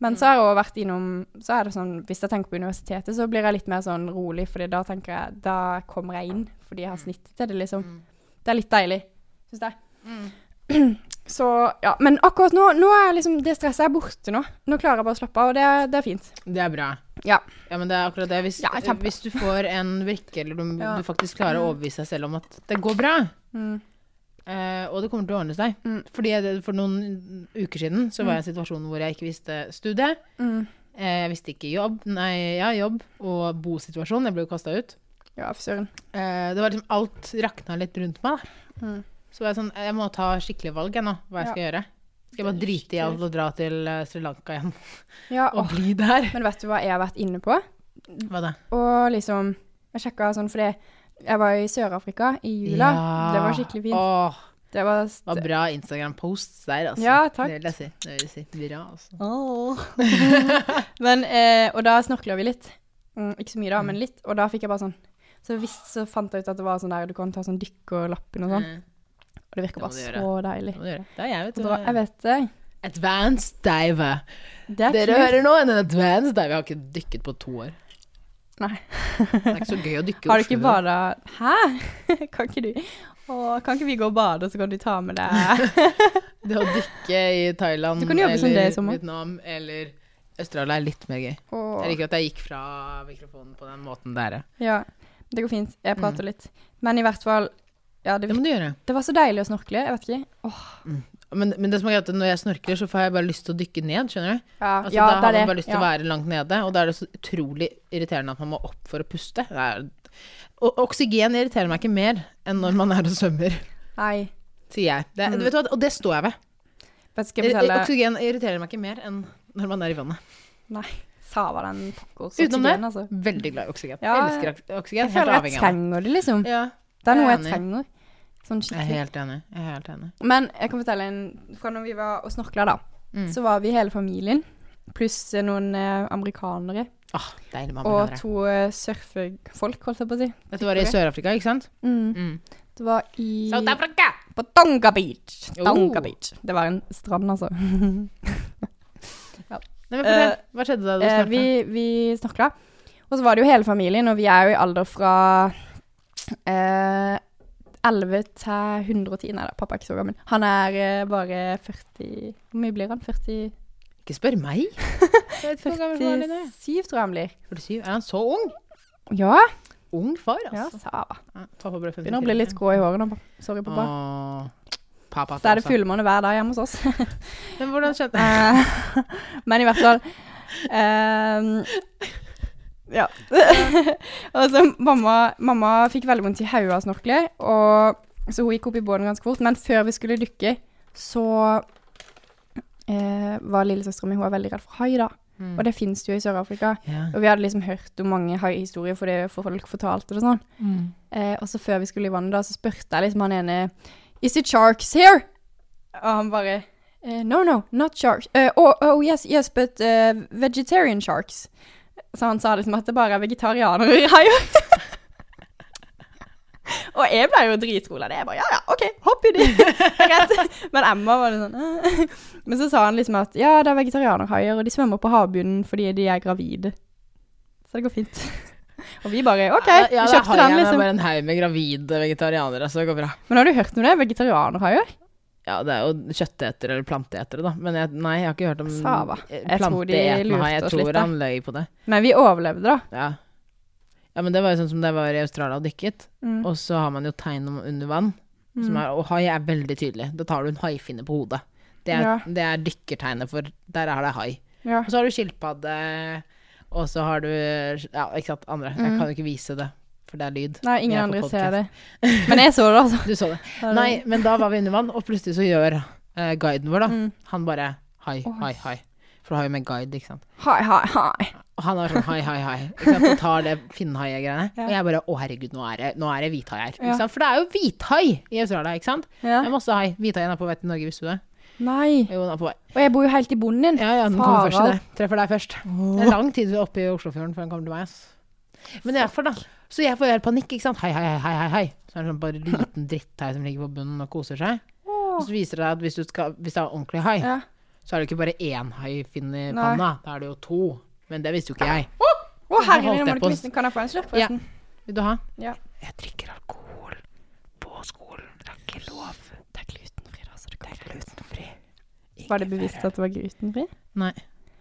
Speaker 3: Men så har jeg også vært innom Så er det sånn Hvis jeg tenker på universitetet, så blir jeg litt mer sånn rolig, fordi da tenker jeg Da kommer jeg inn, fordi jeg har snittet til det, liksom. Det er litt deilig, syns jeg.
Speaker 2: Mm.
Speaker 3: Så ja. Men akkurat nå, nå er liksom det stresset er borte nå. Nå klarer jeg bare å slappe av, og det, er- det er fint.
Speaker 2: Det er bra.
Speaker 3: Ja.
Speaker 2: Ja, men det er akkurat det. Hvis,
Speaker 3: Ja, kjempe.
Speaker 2: hvis du får en brikke, eller du,
Speaker 3: Ja.
Speaker 2: du faktisk klarer å overbevise deg selv om at det går bra,
Speaker 3: Mm.
Speaker 2: eh, og det kommer til å ordne seg.
Speaker 3: Mm.
Speaker 2: Fordi jeg, for noen uker siden så var jeg i en situasjon hvor jeg ikke visste studie,
Speaker 3: Mm.
Speaker 2: eh, jeg visste ikke jobb, nei, ja, jobb, og bosituasjon, jeg ble jo kasta ut.
Speaker 3: Ja, fy søren.
Speaker 2: Eh, det var liksom alt rakna litt rundt meg, da.
Speaker 3: Mm.
Speaker 2: Så var jeg sånn, jeg må ta skikkelig valg jeg nå, hva jeg skal gjøre. Skal jeg bare
Speaker 3: Det er
Speaker 2: drite i alt og dra til eh, Sri Lanka igjen
Speaker 3: Ja,
Speaker 2: og
Speaker 3: åh.
Speaker 2: bli der?
Speaker 3: Men vet du hva jeg har vært inne på?
Speaker 2: Hva da?
Speaker 3: Og liksom Jeg sjekka sånn fordi jeg var i Sør-Afrika i jula.
Speaker 2: Ja.
Speaker 3: Det var skikkelig fint.
Speaker 2: Åh,
Speaker 3: Det var
Speaker 2: det var bra Instagram-posts der, altså.
Speaker 3: Ja, takk.
Speaker 2: Det vil jeg si. Det vil jeg si. Bra, altså.
Speaker 3: Men, eh, og da snorkla vi litt. Mm, ikke så mye da, men litt. Og da fikk jeg bare sånn Så visst så fant jeg ut at det var sånn der du kan ta sånn dykkerlappen og sånn.
Speaker 2: Mm,
Speaker 3: Og det
Speaker 2: Det
Speaker 3: virker
Speaker 2: må
Speaker 3: bare
Speaker 2: du
Speaker 3: så
Speaker 2: gjøre.
Speaker 3: deilig.
Speaker 2: det må du gjøre. Det er jeg, vet
Speaker 3: Og
Speaker 2: du.
Speaker 3: da, jeg vet det.
Speaker 2: Advanced diver.
Speaker 3: Det er
Speaker 2: Dere
Speaker 3: kult.
Speaker 2: hører nå en advanced diver. Jeg har ikke dykket på to år.
Speaker 3: Nei.
Speaker 2: Det er ikke så gøy å dykke i
Speaker 3: Har du ikke
Speaker 2: Oslo.
Speaker 3: bada Hæ? Kan ikke du Å, kan ikke vi gå og bade, og så kan du ta med deg
Speaker 2: Det å dykke i Thailand
Speaker 3: Du kan jobbe som det i
Speaker 2: eller
Speaker 3: sommer.
Speaker 2: Vietnam eller Australia er litt mer gøy.
Speaker 3: Åh.
Speaker 2: Jeg liker at jeg gikk fra mikrofonen på den måten der.
Speaker 3: Ja. Det går fint.
Speaker 2: Mm.
Speaker 3: Jeg prater litt. Men i hvert fall Ja, det,
Speaker 2: Det må du gjøre.
Speaker 3: det var så deilig å snorkle. Jeg vet ikke. Åh,
Speaker 2: Men, men det som er greit, er at når jeg snorkler, så får jeg bare lyst til å dykke ned, skjønner du.
Speaker 3: Ja,
Speaker 2: Altså,
Speaker 3: Ah. ja
Speaker 2: da har
Speaker 3: det er det.
Speaker 2: man bare lyst til
Speaker 3: ja.
Speaker 2: å være langt nede, og da er det så utrolig irriterende at man må opp for å puste. Det er, og oksygen irriterer meg ikke mer enn når man er og svømmer,
Speaker 3: Nei.
Speaker 2: sier jeg. Det,
Speaker 3: Mm.
Speaker 2: vet du hva, og det står jeg ved.
Speaker 3: Men skal
Speaker 2: Eh,
Speaker 3: jeg fortelle
Speaker 2: Oksygen irriterer meg ikke mer enn når man er i vannet.
Speaker 3: Nei. Sava den pokker. så
Speaker 2: Utenom det,
Speaker 3: tiden, altså.
Speaker 2: veldig glad i oksygen.
Speaker 3: Ja,
Speaker 2: Elsker ok- oksygen.
Speaker 3: Jeg føler jeg
Speaker 2: avhengig av det.
Speaker 3: trenger det, liksom.
Speaker 2: Ja,
Speaker 3: Det er noe jeg
Speaker 2: enig.
Speaker 3: trenger. Sånn
Speaker 2: jeg er
Speaker 3: skikkelig.
Speaker 2: helt enig. Jeg er helt enig.
Speaker 3: Men jeg kan fortelle en Fra når vi var og snorkla, da,
Speaker 2: Mm.
Speaker 3: så var vi hele familien, pluss eh, noen eh, amerikanere
Speaker 2: Åh, deilig med
Speaker 3: og
Speaker 2: amerikanere.
Speaker 3: to eh, surfefolk, holdt jeg på å si.
Speaker 2: Dette var i Sør-Afrika, ikke sant?
Speaker 3: Mm.
Speaker 2: Mm.
Speaker 3: Det var i
Speaker 2: South Africa!
Speaker 3: På Tonga Beach.
Speaker 2: Oh.
Speaker 3: Tonga Beach. Det var en strand, altså.
Speaker 2: Nei, men fortell. Hva skjedde da du
Speaker 3: Eh,
Speaker 2: startet?
Speaker 3: vi vi snorkla. Og så var det jo hele familien, og vi er jo i alder fra eh, 11 til 110. Nei da, pappa er ikke så gammel. Han er eh, bare 40 Hvor mye blir han? 40,
Speaker 2: Ikke spør meg! Jeg vet ikke hvor gammel var han nå.
Speaker 3: 47, tror jeg han blir.
Speaker 2: 47? Er han så ung?
Speaker 3: Ja,
Speaker 2: Ung far,
Speaker 3: ja
Speaker 2: altså.
Speaker 3: sava.
Speaker 2: Ja. Pappa ble 54.
Speaker 3: Begynner å bli litt grå i håret nå. pa- Sorry, pappa.
Speaker 2: Åh, pappa.
Speaker 3: Så er det
Speaker 2: altså.
Speaker 3: fullmåne hver dag hjemme hos oss.
Speaker 2: Men hvordan skjedde
Speaker 3: Eh, Men i hvert fall ehm, Ja. og så mamma, mamma fikk veldig vondt i hodet av snorkler, og så hun gikk opp i båten ganske fort. Men før vi skulle dykke, så eh, var lillesøstera mi hun er veldig redd for hai, da.
Speaker 2: Mm.
Speaker 3: Og det fins jo i Sør-Afrika.
Speaker 2: Ja.
Speaker 3: Og vi hadde liksom hørt om mange haihistorier for det for folk fortalte det og sånn. Eh, og så før vi skulle i vannet, da, så spurte jeg liksom han ene Is it sharks here? Og han bare eh, No, no, not sharks. Eh, oh, oh, yes, yes, but eh, vegetarian sharks. Så han sa liksom at det bare er vegetarianere i haier. og jeg ble jo dritrola. Det er bare Ja, ja, OK, hopp i det. Rett. Men Emma var litt sånn eh. Men så sa han liksom at ja, det er vegetarianerhaier, og de svømmer på havbunnen fordi de er gravide. Så det går fint. og vi bare OK,
Speaker 2: Ja, ja,
Speaker 3: vi
Speaker 2: det er
Speaker 3: kjøpte
Speaker 2: haien,
Speaker 3: den,
Speaker 2: det er
Speaker 3: liksom.
Speaker 2: bare en haug med gravide vegetarianere, så det går bra.
Speaker 3: Men har du hørt noe om det? Vegetarianerhaier?
Speaker 2: Ja, det er jo kjøttetere eller planteetere, da. Men jeg, nei, jeg har ikke hørt om
Speaker 3: Sava.
Speaker 2: eh,
Speaker 3: Jeg tror de
Speaker 2: planteetende
Speaker 3: lurte
Speaker 2: hai. Jeg
Speaker 3: oss
Speaker 2: tror
Speaker 3: litt, da.
Speaker 2: han løy på det.
Speaker 3: Men vi overlevde, da.
Speaker 2: Ja. ja, men det var jo sånn som det var i Australia og dykket.
Speaker 3: Mm.
Speaker 2: Og så har man jo tegn om under vann, som er, og hai er veldig tydelig. Da tar du en haifinne på hodet. Det er,
Speaker 3: Ja.
Speaker 2: det er dykkertegnet for Der er det hai.
Speaker 3: Ja.
Speaker 2: Og så har du skilpadde, og så har du Ja, ikke sant, andre. Jeg
Speaker 3: Mm.
Speaker 2: kan jo ikke vise det, for det er lyd.
Speaker 3: Nei,
Speaker 2: Vi
Speaker 3: ingen
Speaker 2: er på
Speaker 3: andre
Speaker 2: podcast.
Speaker 3: ser det. Men jeg så det, altså.
Speaker 2: Du så det. Nei, men da var vi under vann, og plutselig så gjør eh, guiden vår, da.
Speaker 3: Mm.
Speaker 2: Han bare hai,
Speaker 3: Oi.
Speaker 2: hai, hai. For du har jo med guide, ikke sant.
Speaker 3: Hei, hei, hei.
Speaker 2: Og han er sånn hai, hai, hai. Ikke sant? Og tar det finnhai-greiene.
Speaker 3: Ja.
Speaker 2: Og jeg bare å herregud, nå er det, nå er det hvithai her.
Speaker 3: Ja.
Speaker 2: Ikke sant? For det er jo hvithai i Australia, ikke sant.
Speaker 3: Ja.
Speaker 2: Det er masse hai. Hvithaien er på vei til Norge, visste du det?
Speaker 3: Nei.
Speaker 2: Jo, den er på vei.
Speaker 3: Og jeg bor jo helt i bonden din.
Speaker 2: Ja, ja, den kommer først til
Speaker 3: Farald.
Speaker 2: deg. Treffer deg først. Det er lang tid oppe i Oslofjorden før den kommer til meg, ass. Men det er for da. Så jeg får helt panikk, ikke sant. Hei, hei, hei, hei, hei. Så er det sånn bare liten dritthai som ligger på bunnen og koser seg. Og så viser det seg at hvis, du skal, hvis det er ordentlig hai,
Speaker 3: Ja.
Speaker 2: så er det ikke bare én haifinn i
Speaker 3: Nei.
Speaker 2: panna. Da er det jo to. Men det visste jo ikke jeg.
Speaker 3: Å, herregud,
Speaker 2: holdt
Speaker 3: nå må
Speaker 2: jeg
Speaker 3: du
Speaker 2: på å
Speaker 3: ikke miste. Kan jeg få en slurk, forresten?
Speaker 2: Vil du ha?
Speaker 3: Ja.
Speaker 2: Jeg drikker alkohol på skolen. Det er ikke lov. Det er glutenfri, da, så det kan være glutenfri.
Speaker 3: Var det bevisst at det var glutenfri?
Speaker 2: Nei.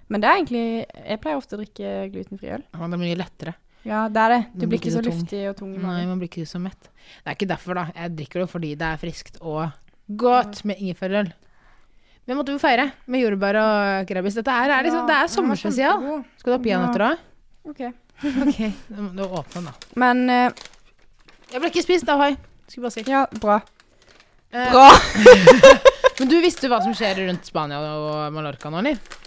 Speaker 3: Men det er egentlig Jeg pleier ofte å drikke glutenfri øl.
Speaker 2: Ja, det er mye lettere.
Speaker 3: Ja, det er det. Du
Speaker 2: Den
Speaker 3: blir ikke
Speaker 2: blir
Speaker 3: så
Speaker 2: tung.
Speaker 3: luftig og tung i
Speaker 2: Nei,
Speaker 3: magen.
Speaker 2: man blir ikke så mett. Det er ikke derfor, da. Jeg drikker det jo fordi det er friskt og godt med ingefærøl. Men måtte vi feire med jordbær og krabis. Dette her er liksom, det er sommerspesial. Skal du ha peanøtter da?
Speaker 3: OK.
Speaker 2: Ok, da må du åpne den, da.
Speaker 3: Men eh,
Speaker 2: Jeg ble ikke spist av hai. Skulle bare si.
Speaker 3: Ja, bra.
Speaker 2: Eh,
Speaker 3: Bra!
Speaker 2: men du visste hva som skjer rundt Spania og Mallorca nå, eller?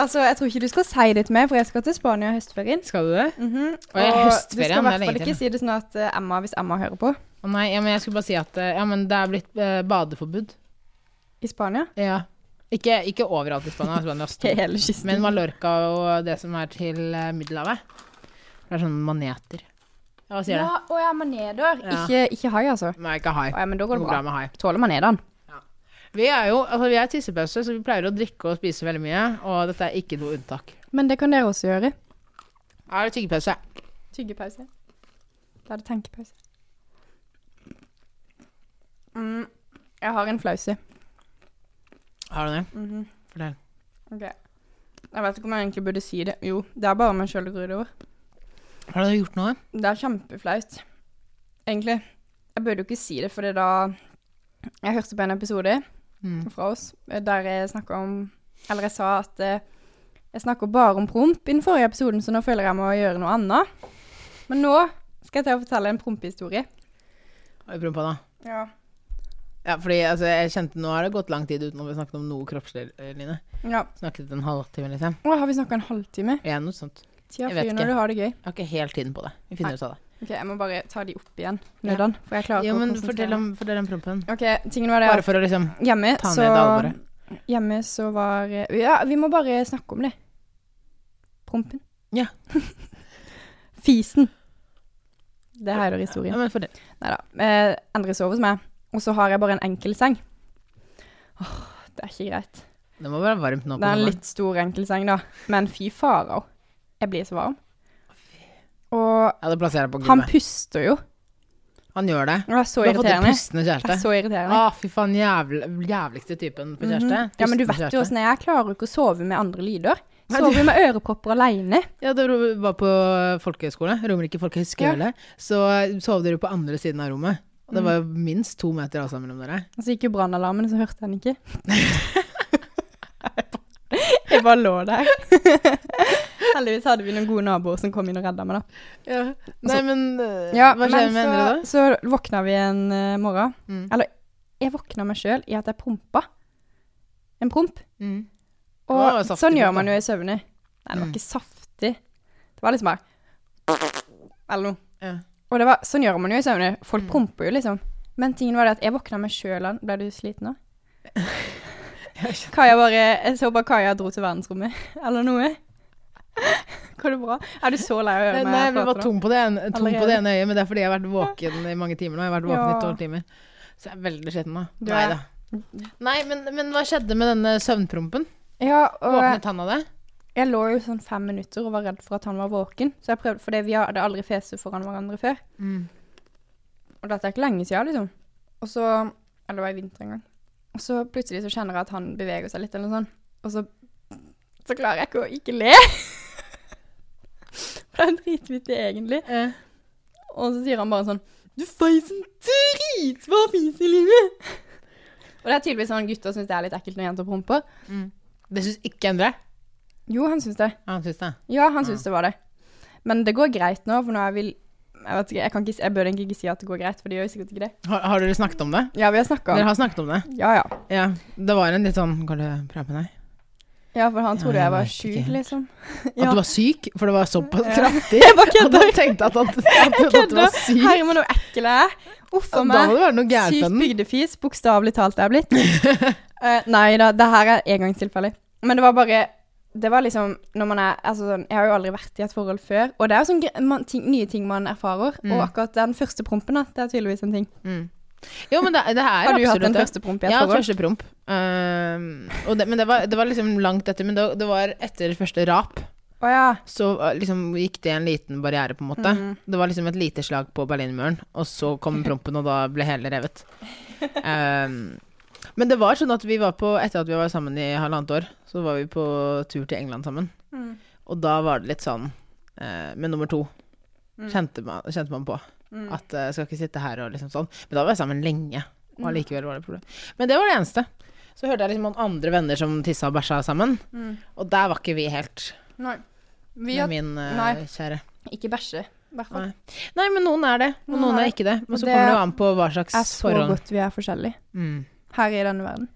Speaker 3: Altså, jeg tror ikke du skal si det til meg, for jeg skal til Spania i høstferien.
Speaker 2: Skal du det?
Speaker 3: Mhm.
Speaker 2: Og jeg-
Speaker 3: du skal
Speaker 2: høstferien,
Speaker 3: i
Speaker 2: det er
Speaker 3: hvert
Speaker 2: lenge
Speaker 3: fall
Speaker 2: til.
Speaker 3: ikke si det sånn at eh, Emma, hvis Emma hører på,
Speaker 2: Å nei, ja, men jeg skulle bare si at eh, ja, men det er blitt eh, badeforbud.
Speaker 3: i Spania
Speaker 2: Ja. Ikke, ikke overalt i Spania, Spania er stor.
Speaker 3: Hele kysten.
Speaker 2: men Mallorca og det som er til eh, Middelhavet. Det er sånne maneter. Ja, hva sier
Speaker 3: ja, Å ja, maneter.
Speaker 2: Ja.
Speaker 3: Ikke, ikke hai, altså.
Speaker 2: du? Nei, ikke hai.
Speaker 3: Å ja, men da går
Speaker 2: Noe
Speaker 3: det
Speaker 2: bra
Speaker 3: bra.
Speaker 2: med hai.
Speaker 3: Tåler manetene.
Speaker 2: Vi er jo altså, vi er tissepause, så vi pleier å drikke og spise veldig mye. Og dette er ikke noe unntak.
Speaker 3: Men det kan dere også gjøre.
Speaker 2: Er det tyggepause?
Speaker 3: Tyggepause. Da er det tenkepause. Mm, jeg har en flause.
Speaker 2: Har du det?
Speaker 3: Mhm.
Speaker 2: Fortell.
Speaker 3: Ok. Jeg vet ikke om jeg egentlig burde si det. Jo, det er bare meg sjøl det går utover.
Speaker 2: Har du gjort noe?
Speaker 3: Det er kjempeflaut, egentlig. Jeg burde jo ikke si det, for da Jeg hørte på en episode
Speaker 2: Mm.
Speaker 3: fra oss, eh, der jeg snakka om Eller jeg sa at eh, jeg snakker bare om promp i den forrige episoden, så nå føler jeg meg å gjøre noe annet. Men nå skal jeg til å fortelle en prompehistorie.
Speaker 2: Har du prøvd på det?
Speaker 3: Ja.
Speaker 2: Ja, fordi altså, jeg kjente Nå har det gått lang tid uten at vi snakket om noe kroppslig, eh, Line.
Speaker 3: ja.
Speaker 2: Snakket en halvtime, liksom.
Speaker 3: Å, har vi snakka en halvtime?
Speaker 2: Ja, noe sånt.
Speaker 3: Tida
Speaker 2: Jeg vet
Speaker 3: flyr
Speaker 2: ikke.
Speaker 3: når du har det gøy.
Speaker 2: Jeg har ikke helt tiden på det. Vi finner ut av det.
Speaker 3: Ok, Jeg må bare ta de opp igjen, nøddan. For jeg klarer
Speaker 2: Ja,
Speaker 3: ikke
Speaker 2: men
Speaker 3: å konsentrere
Speaker 2: fortell om, fortell om prompen.
Speaker 3: meg. Ok, tingen var det
Speaker 2: Bare
Speaker 3: at
Speaker 2: for å liksom
Speaker 3: hjemme
Speaker 2: ta ned
Speaker 3: så
Speaker 2: det alvoret.
Speaker 3: Hjemme så var eh, Ja, vi må bare snakke om det. Prompen.
Speaker 2: Ja.
Speaker 3: Fisen. Det her er
Speaker 2: Ja,
Speaker 3: historien.
Speaker 2: men fortell.
Speaker 3: Nei da. Eh, Endre sover hos meg, og så har jeg bare en enkel seng. Åh, det er ikke greit.
Speaker 2: Det må være varmt nå på
Speaker 3: Det er en
Speaker 2: sommeren.
Speaker 3: litt stor enkeltseng, da. Men fy farao. Jeg blir så varm. Og
Speaker 2: Ja, det plasserer jeg på
Speaker 3: han
Speaker 2: gulvet.
Speaker 3: puster jo.
Speaker 2: Han gjør det.
Speaker 3: Det er så
Speaker 2: Du har fått en
Speaker 3: irriterende.
Speaker 2: pustende
Speaker 3: Det er
Speaker 2: kjæreste.
Speaker 3: så irriterende.
Speaker 2: Å, fy faen, jævl, jævligste typen på kjæreste.
Speaker 3: Mhm. Ja, men
Speaker 2: Pustende
Speaker 3: du vet jo
Speaker 2: kjæreste.
Speaker 3: åssen jeg er. Jeg klarer jo ikke å sove med andre lyder.
Speaker 2: Nei, du-
Speaker 3: Sover jo med ørepropper aleine.
Speaker 2: Ja, da du var på folkehøyskole, Romerike folkehøgskole, så eh, sov dere jo på andre siden av rommet. Og det var jo minst to meter avstand mellom dere.
Speaker 3: Og så gikk jo brannalarmen, og så hørte jeg den ikke. jeg bare lå der. Heldigvis hadde vi noen gode naboer som kom inn og redda meg, da.
Speaker 2: Ja. Nei, men øh, hva
Speaker 3: Altså- men
Speaker 2: skjer med Endre da?
Speaker 3: så, så våkna vi en eh, morgen.
Speaker 2: Mm.
Speaker 3: Eller jeg våkna meg sjøl i at jeg prompa. En promp.
Speaker 2: Mm.
Speaker 3: Og
Speaker 2: Å, saftig
Speaker 3: sånn gjør
Speaker 2: promp,
Speaker 3: man
Speaker 2: da.
Speaker 3: jo i søvne. Nei, det var
Speaker 2: Mm.
Speaker 3: ikke saftig. Det var liksom bare Eller noe.
Speaker 2: Ja.
Speaker 3: Og det var, sånn gjør man jo i søvne. Folk
Speaker 2: Mm.
Speaker 3: promper jo, liksom. Men tingen var det at jeg våkna meg sjøl av Ble du sliten nå?
Speaker 2: Jeg skjønner.
Speaker 3: Kaja bare Jeg så bare Kaja dro til verdensrommet, eller noe. Går det bra? Er du så lei av å
Speaker 2: Nei,
Speaker 3: høre meg?
Speaker 2: nei, vi
Speaker 3: prate
Speaker 2: var
Speaker 3: nå?
Speaker 2: tom på, det ene, tom på
Speaker 3: Allerede.
Speaker 2: det ene øyet, men det er fordi jeg har vært våken i mange timer nå. Jeg har vært våken
Speaker 3: Ja.
Speaker 2: i tolv timer. Så jeg er veldig sliten nå.
Speaker 3: Du er-
Speaker 2: Nei da. Nei, men, men hva skjedde med denne søvnprompen?
Speaker 3: Ja, og
Speaker 2: Våknet han av det?
Speaker 3: jeg lå jo sånn fem minutter og var redd for at han var våken. Så jeg prøvde, fordi vi hadde aldri fese foran hverandre før. Og dette er ikke lenge siden, liksom. Og så Eller det var i vinter en gang. Og så plutselig så kjenner jeg at han beveger seg litt, eller noe sånt. Og så Så klarer jeg ikke å ikke le. For det er jo dritvittig, egentlig.
Speaker 2: Eh,
Speaker 3: Og så sier han bare sånn Du feis en dritbra fis i livet! Og det er tydeligvis sånn gutter syns det er litt ekkelt når jenter promper.
Speaker 2: Mm. Det syns ikke Endre.
Speaker 3: Jo, han syns det.
Speaker 2: Han syns det.
Speaker 3: Ja, han syns det var det. Men det går greit nå, for nå er vi Jeg vet ikke, jeg, kan ikke, jeg bør egentlig ikke si at det går greit, for det gjør jo sikkert ikke det.
Speaker 2: Har, har dere snakket om det?
Speaker 3: Ja, vi har snakka
Speaker 2: Dere
Speaker 3: om
Speaker 2: har snakket om det?
Speaker 3: Ja, ja.
Speaker 2: Ja. Det var en litt sånn Kan du prate med deg?
Speaker 3: Ja, for han
Speaker 2: Ja,
Speaker 3: trodde
Speaker 2: jeg
Speaker 3: jeg var
Speaker 2: vet ikke
Speaker 3: sjuk,
Speaker 2: helt.
Speaker 3: liksom.
Speaker 2: At
Speaker 3: Ja.
Speaker 2: du var syk, for det var såpass kraftig.
Speaker 3: Jeg bare
Speaker 2: At
Speaker 3: kødder.
Speaker 2: han tenkte at, at, at, at du
Speaker 3: Kødder.
Speaker 2: var syk.
Speaker 3: Herman, hvor ekkel jeg er. Uff
Speaker 2: Da
Speaker 3: a
Speaker 2: må
Speaker 3: meg.
Speaker 2: det være noe gærent
Speaker 3: Sykt
Speaker 2: med den.
Speaker 3: bygdefis, bokstavelig talt det er blitt. Eh, nei da, det her er engangstilfeller. Men det var bare Det var liksom når man er altså sånn, Jeg har jo aldri vært i et forhold før, og det er jo sånn gre- man, ting, nye ting man erfarer.
Speaker 2: Mm.
Speaker 3: Og akkurat den første prompen, da, det er tydeligvis en ting.
Speaker 2: Mm. Jo, men det, det er
Speaker 3: Har du hatt den
Speaker 2: det.
Speaker 3: første promp i et
Speaker 2: Ja,
Speaker 3: forhold?
Speaker 2: første promp. Ehm, og det, men det var, det var liksom langt etter. Men det, det var etter første rap.
Speaker 3: Å ja.
Speaker 2: Så eh, liksom gikk det en liten barriere, på en måte.
Speaker 3: Mm.
Speaker 2: Det var liksom et lite slag på Berlinmuren, og så kom prompen, og da ble hele revet. Ehm, men det var sånn at vi var på Etter at vi var sammen i halvannet år, så var vi på tur til England sammen.
Speaker 3: Mm.
Speaker 2: Og da var det litt sånn eh, Med nummer to kjente man, kjente man på
Speaker 3: Mm.
Speaker 2: at eh, skal ikke sitte her og liksom sånn. Men da var vi sammen lenge,
Speaker 3: Mm.
Speaker 2: og allikevel var det et problem. Men det var det eneste. Så hørte jeg liksom om andre venner som tissa og bæsja sammen,
Speaker 3: Mm.
Speaker 2: og der var ikke vi helt
Speaker 3: Nei. Vi
Speaker 2: med
Speaker 3: har
Speaker 2: min eh,
Speaker 3: nei.
Speaker 2: kjære.
Speaker 3: ikke bæsje, i hvert fall.
Speaker 2: Nei. Nei, men noen er det, og
Speaker 3: Noen
Speaker 2: noen
Speaker 3: er
Speaker 2: er
Speaker 3: det.
Speaker 2: ikke det. Men
Speaker 3: Og
Speaker 2: så
Speaker 3: det
Speaker 2: kommer det jo an på hva
Speaker 3: Det er
Speaker 2: slags
Speaker 3: så
Speaker 2: forhold
Speaker 3: godt vi er forskjellige
Speaker 2: mm.
Speaker 3: her i denne verden.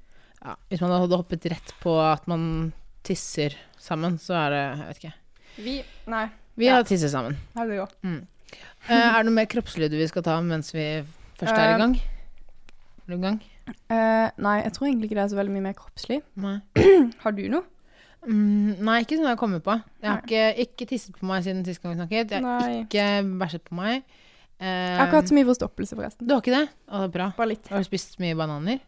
Speaker 2: ja. Hvis man hadde hoppet rett på at man tisser sammen, så er det Jeg vet ikke.
Speaker 3: Vi Nei.
Speaker 2: Vi
Speaker 3: Ja.
Speaker 2: har tisset sammen.
Speaker 3: Her vi går.
Speaker 2: Eh, er det noe mer kroppslig du vi skal ta mens vi først er
Speaker 3: Eh.
Speaker 2: i gang? Er du i gang?
Speaker 3: Eh, nei, jeg tror egentlig ikke det er så veldig mye mer kroppslig.
Speaker 2: Nei.
Speaker 3: Har du noe?
Speaker 2: Mm, nei, ikke som jeg har kommet på. Jeg har ikke, ikke tisset på meg siden sist gang vi snakket. Jeg har
Speaker 3: Nei.
Speaker 2: ikke bæsjet på meg. Eh,
Speaker 3: Jeg har ikke hatt så mye forstoppelse, forresten.
Speaker 2: Du har ikke det? Å, det er bra.
Speaker 3: Bare litt.
Speaker 2: Har du spist mye bananer?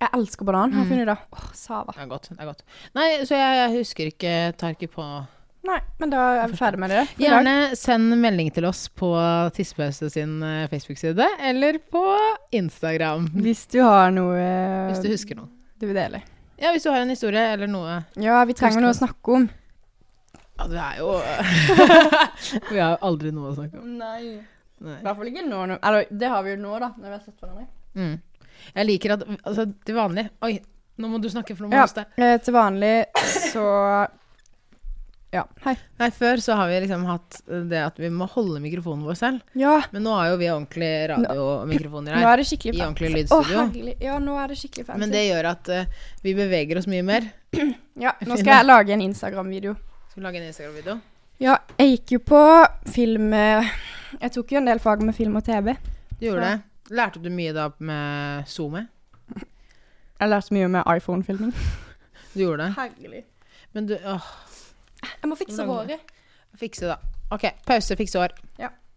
Speaker 3: Jeg elsker banan. Har
Speaker 2: Mm.
Speaker 3: jeg funnet det. Åh, sava.
Speaker 2: Det er godt. det er godt. Nei, så jeg, jeg husker ikke Tar ikke på
Speaker 3: Nei, men da er vi ferdig med det. for i dag.
Speaker 2: Gjerne send melding til oss på Tissepause sin eh, Facebook-side eller på Instagram.
Speaker 3: Hvis du har noe
Speaker 2: Hvis du husker noe.
Speaker 3: du vil dele.
Speaker 2: Ja, hvis du har en historie eller noe.
Speaker 3: Ja, vi
Speaker 2: Husker
Speaker 3: trenger noe å snakke om.
Speaker 2: Ja, det er jo Vi har jo aldri noe å snakke om.
Speaker 3: Nei.
Speaker 2: Nei.
Speaker 3: I hvert fall ikke nå. nå- Eller det har vi jo nå, da. Når vi har sett hverandre.
Speaker 2: Mm. Jeg liker at altså, til vanlig Oi, Nå må du snakke, for nå må du
Speaker 3: Ja.
Speaker 2: hoste.
Speaker 3: Eh, til vanlig så Ja, hei.
Speaker 2: Nei, før så har vi liksom hatt det at vi må holde mikrofonen vår selv.
Speaker 3: Ja,
Speaker 2: Men nå har jo vi ordentlig radiomikrofoner
Speaker 3: nå
Speaker 2: her.
Speaker 3: er det skikkelig
Speaker 2: I
Speaker 3: fan-
Speaker 2: ordentlig
Speaker 3: Å,
Speaker 2: lydstudio.
Speaker 3: herlig. Ja, nå er det skikkelig fancy.
Speaker 2: Men det gjør at eh, vi beveger oss mye mer.
Speaker 3: Ja, nå skal jeg lage en Instagram-video.
Speaker 2: Skal vi lage en Instagram-video?
Speaker 3: Ja, jeg gikk jo på film eh, Jeg tok jo en del fag med film og TV.
Speaker 2: Du gjorde
Speaker 3: Ja.
Speaker 2: det. Lærte du mye da med SoMe?
Speaker 3: Jeg lærte mye med iPhone-filming.
Speaker 2: Du gjorde det.
Speaker 3: Herlig.
Speaker 2: Men du åh,
Speaker 3: Jeg må fikse
Speaker 2: Hvordan-
Speaker 3: håret.
Speaker 2: Fikse, da. OK. Pause, fikse hår.
Speaker 3: Ja.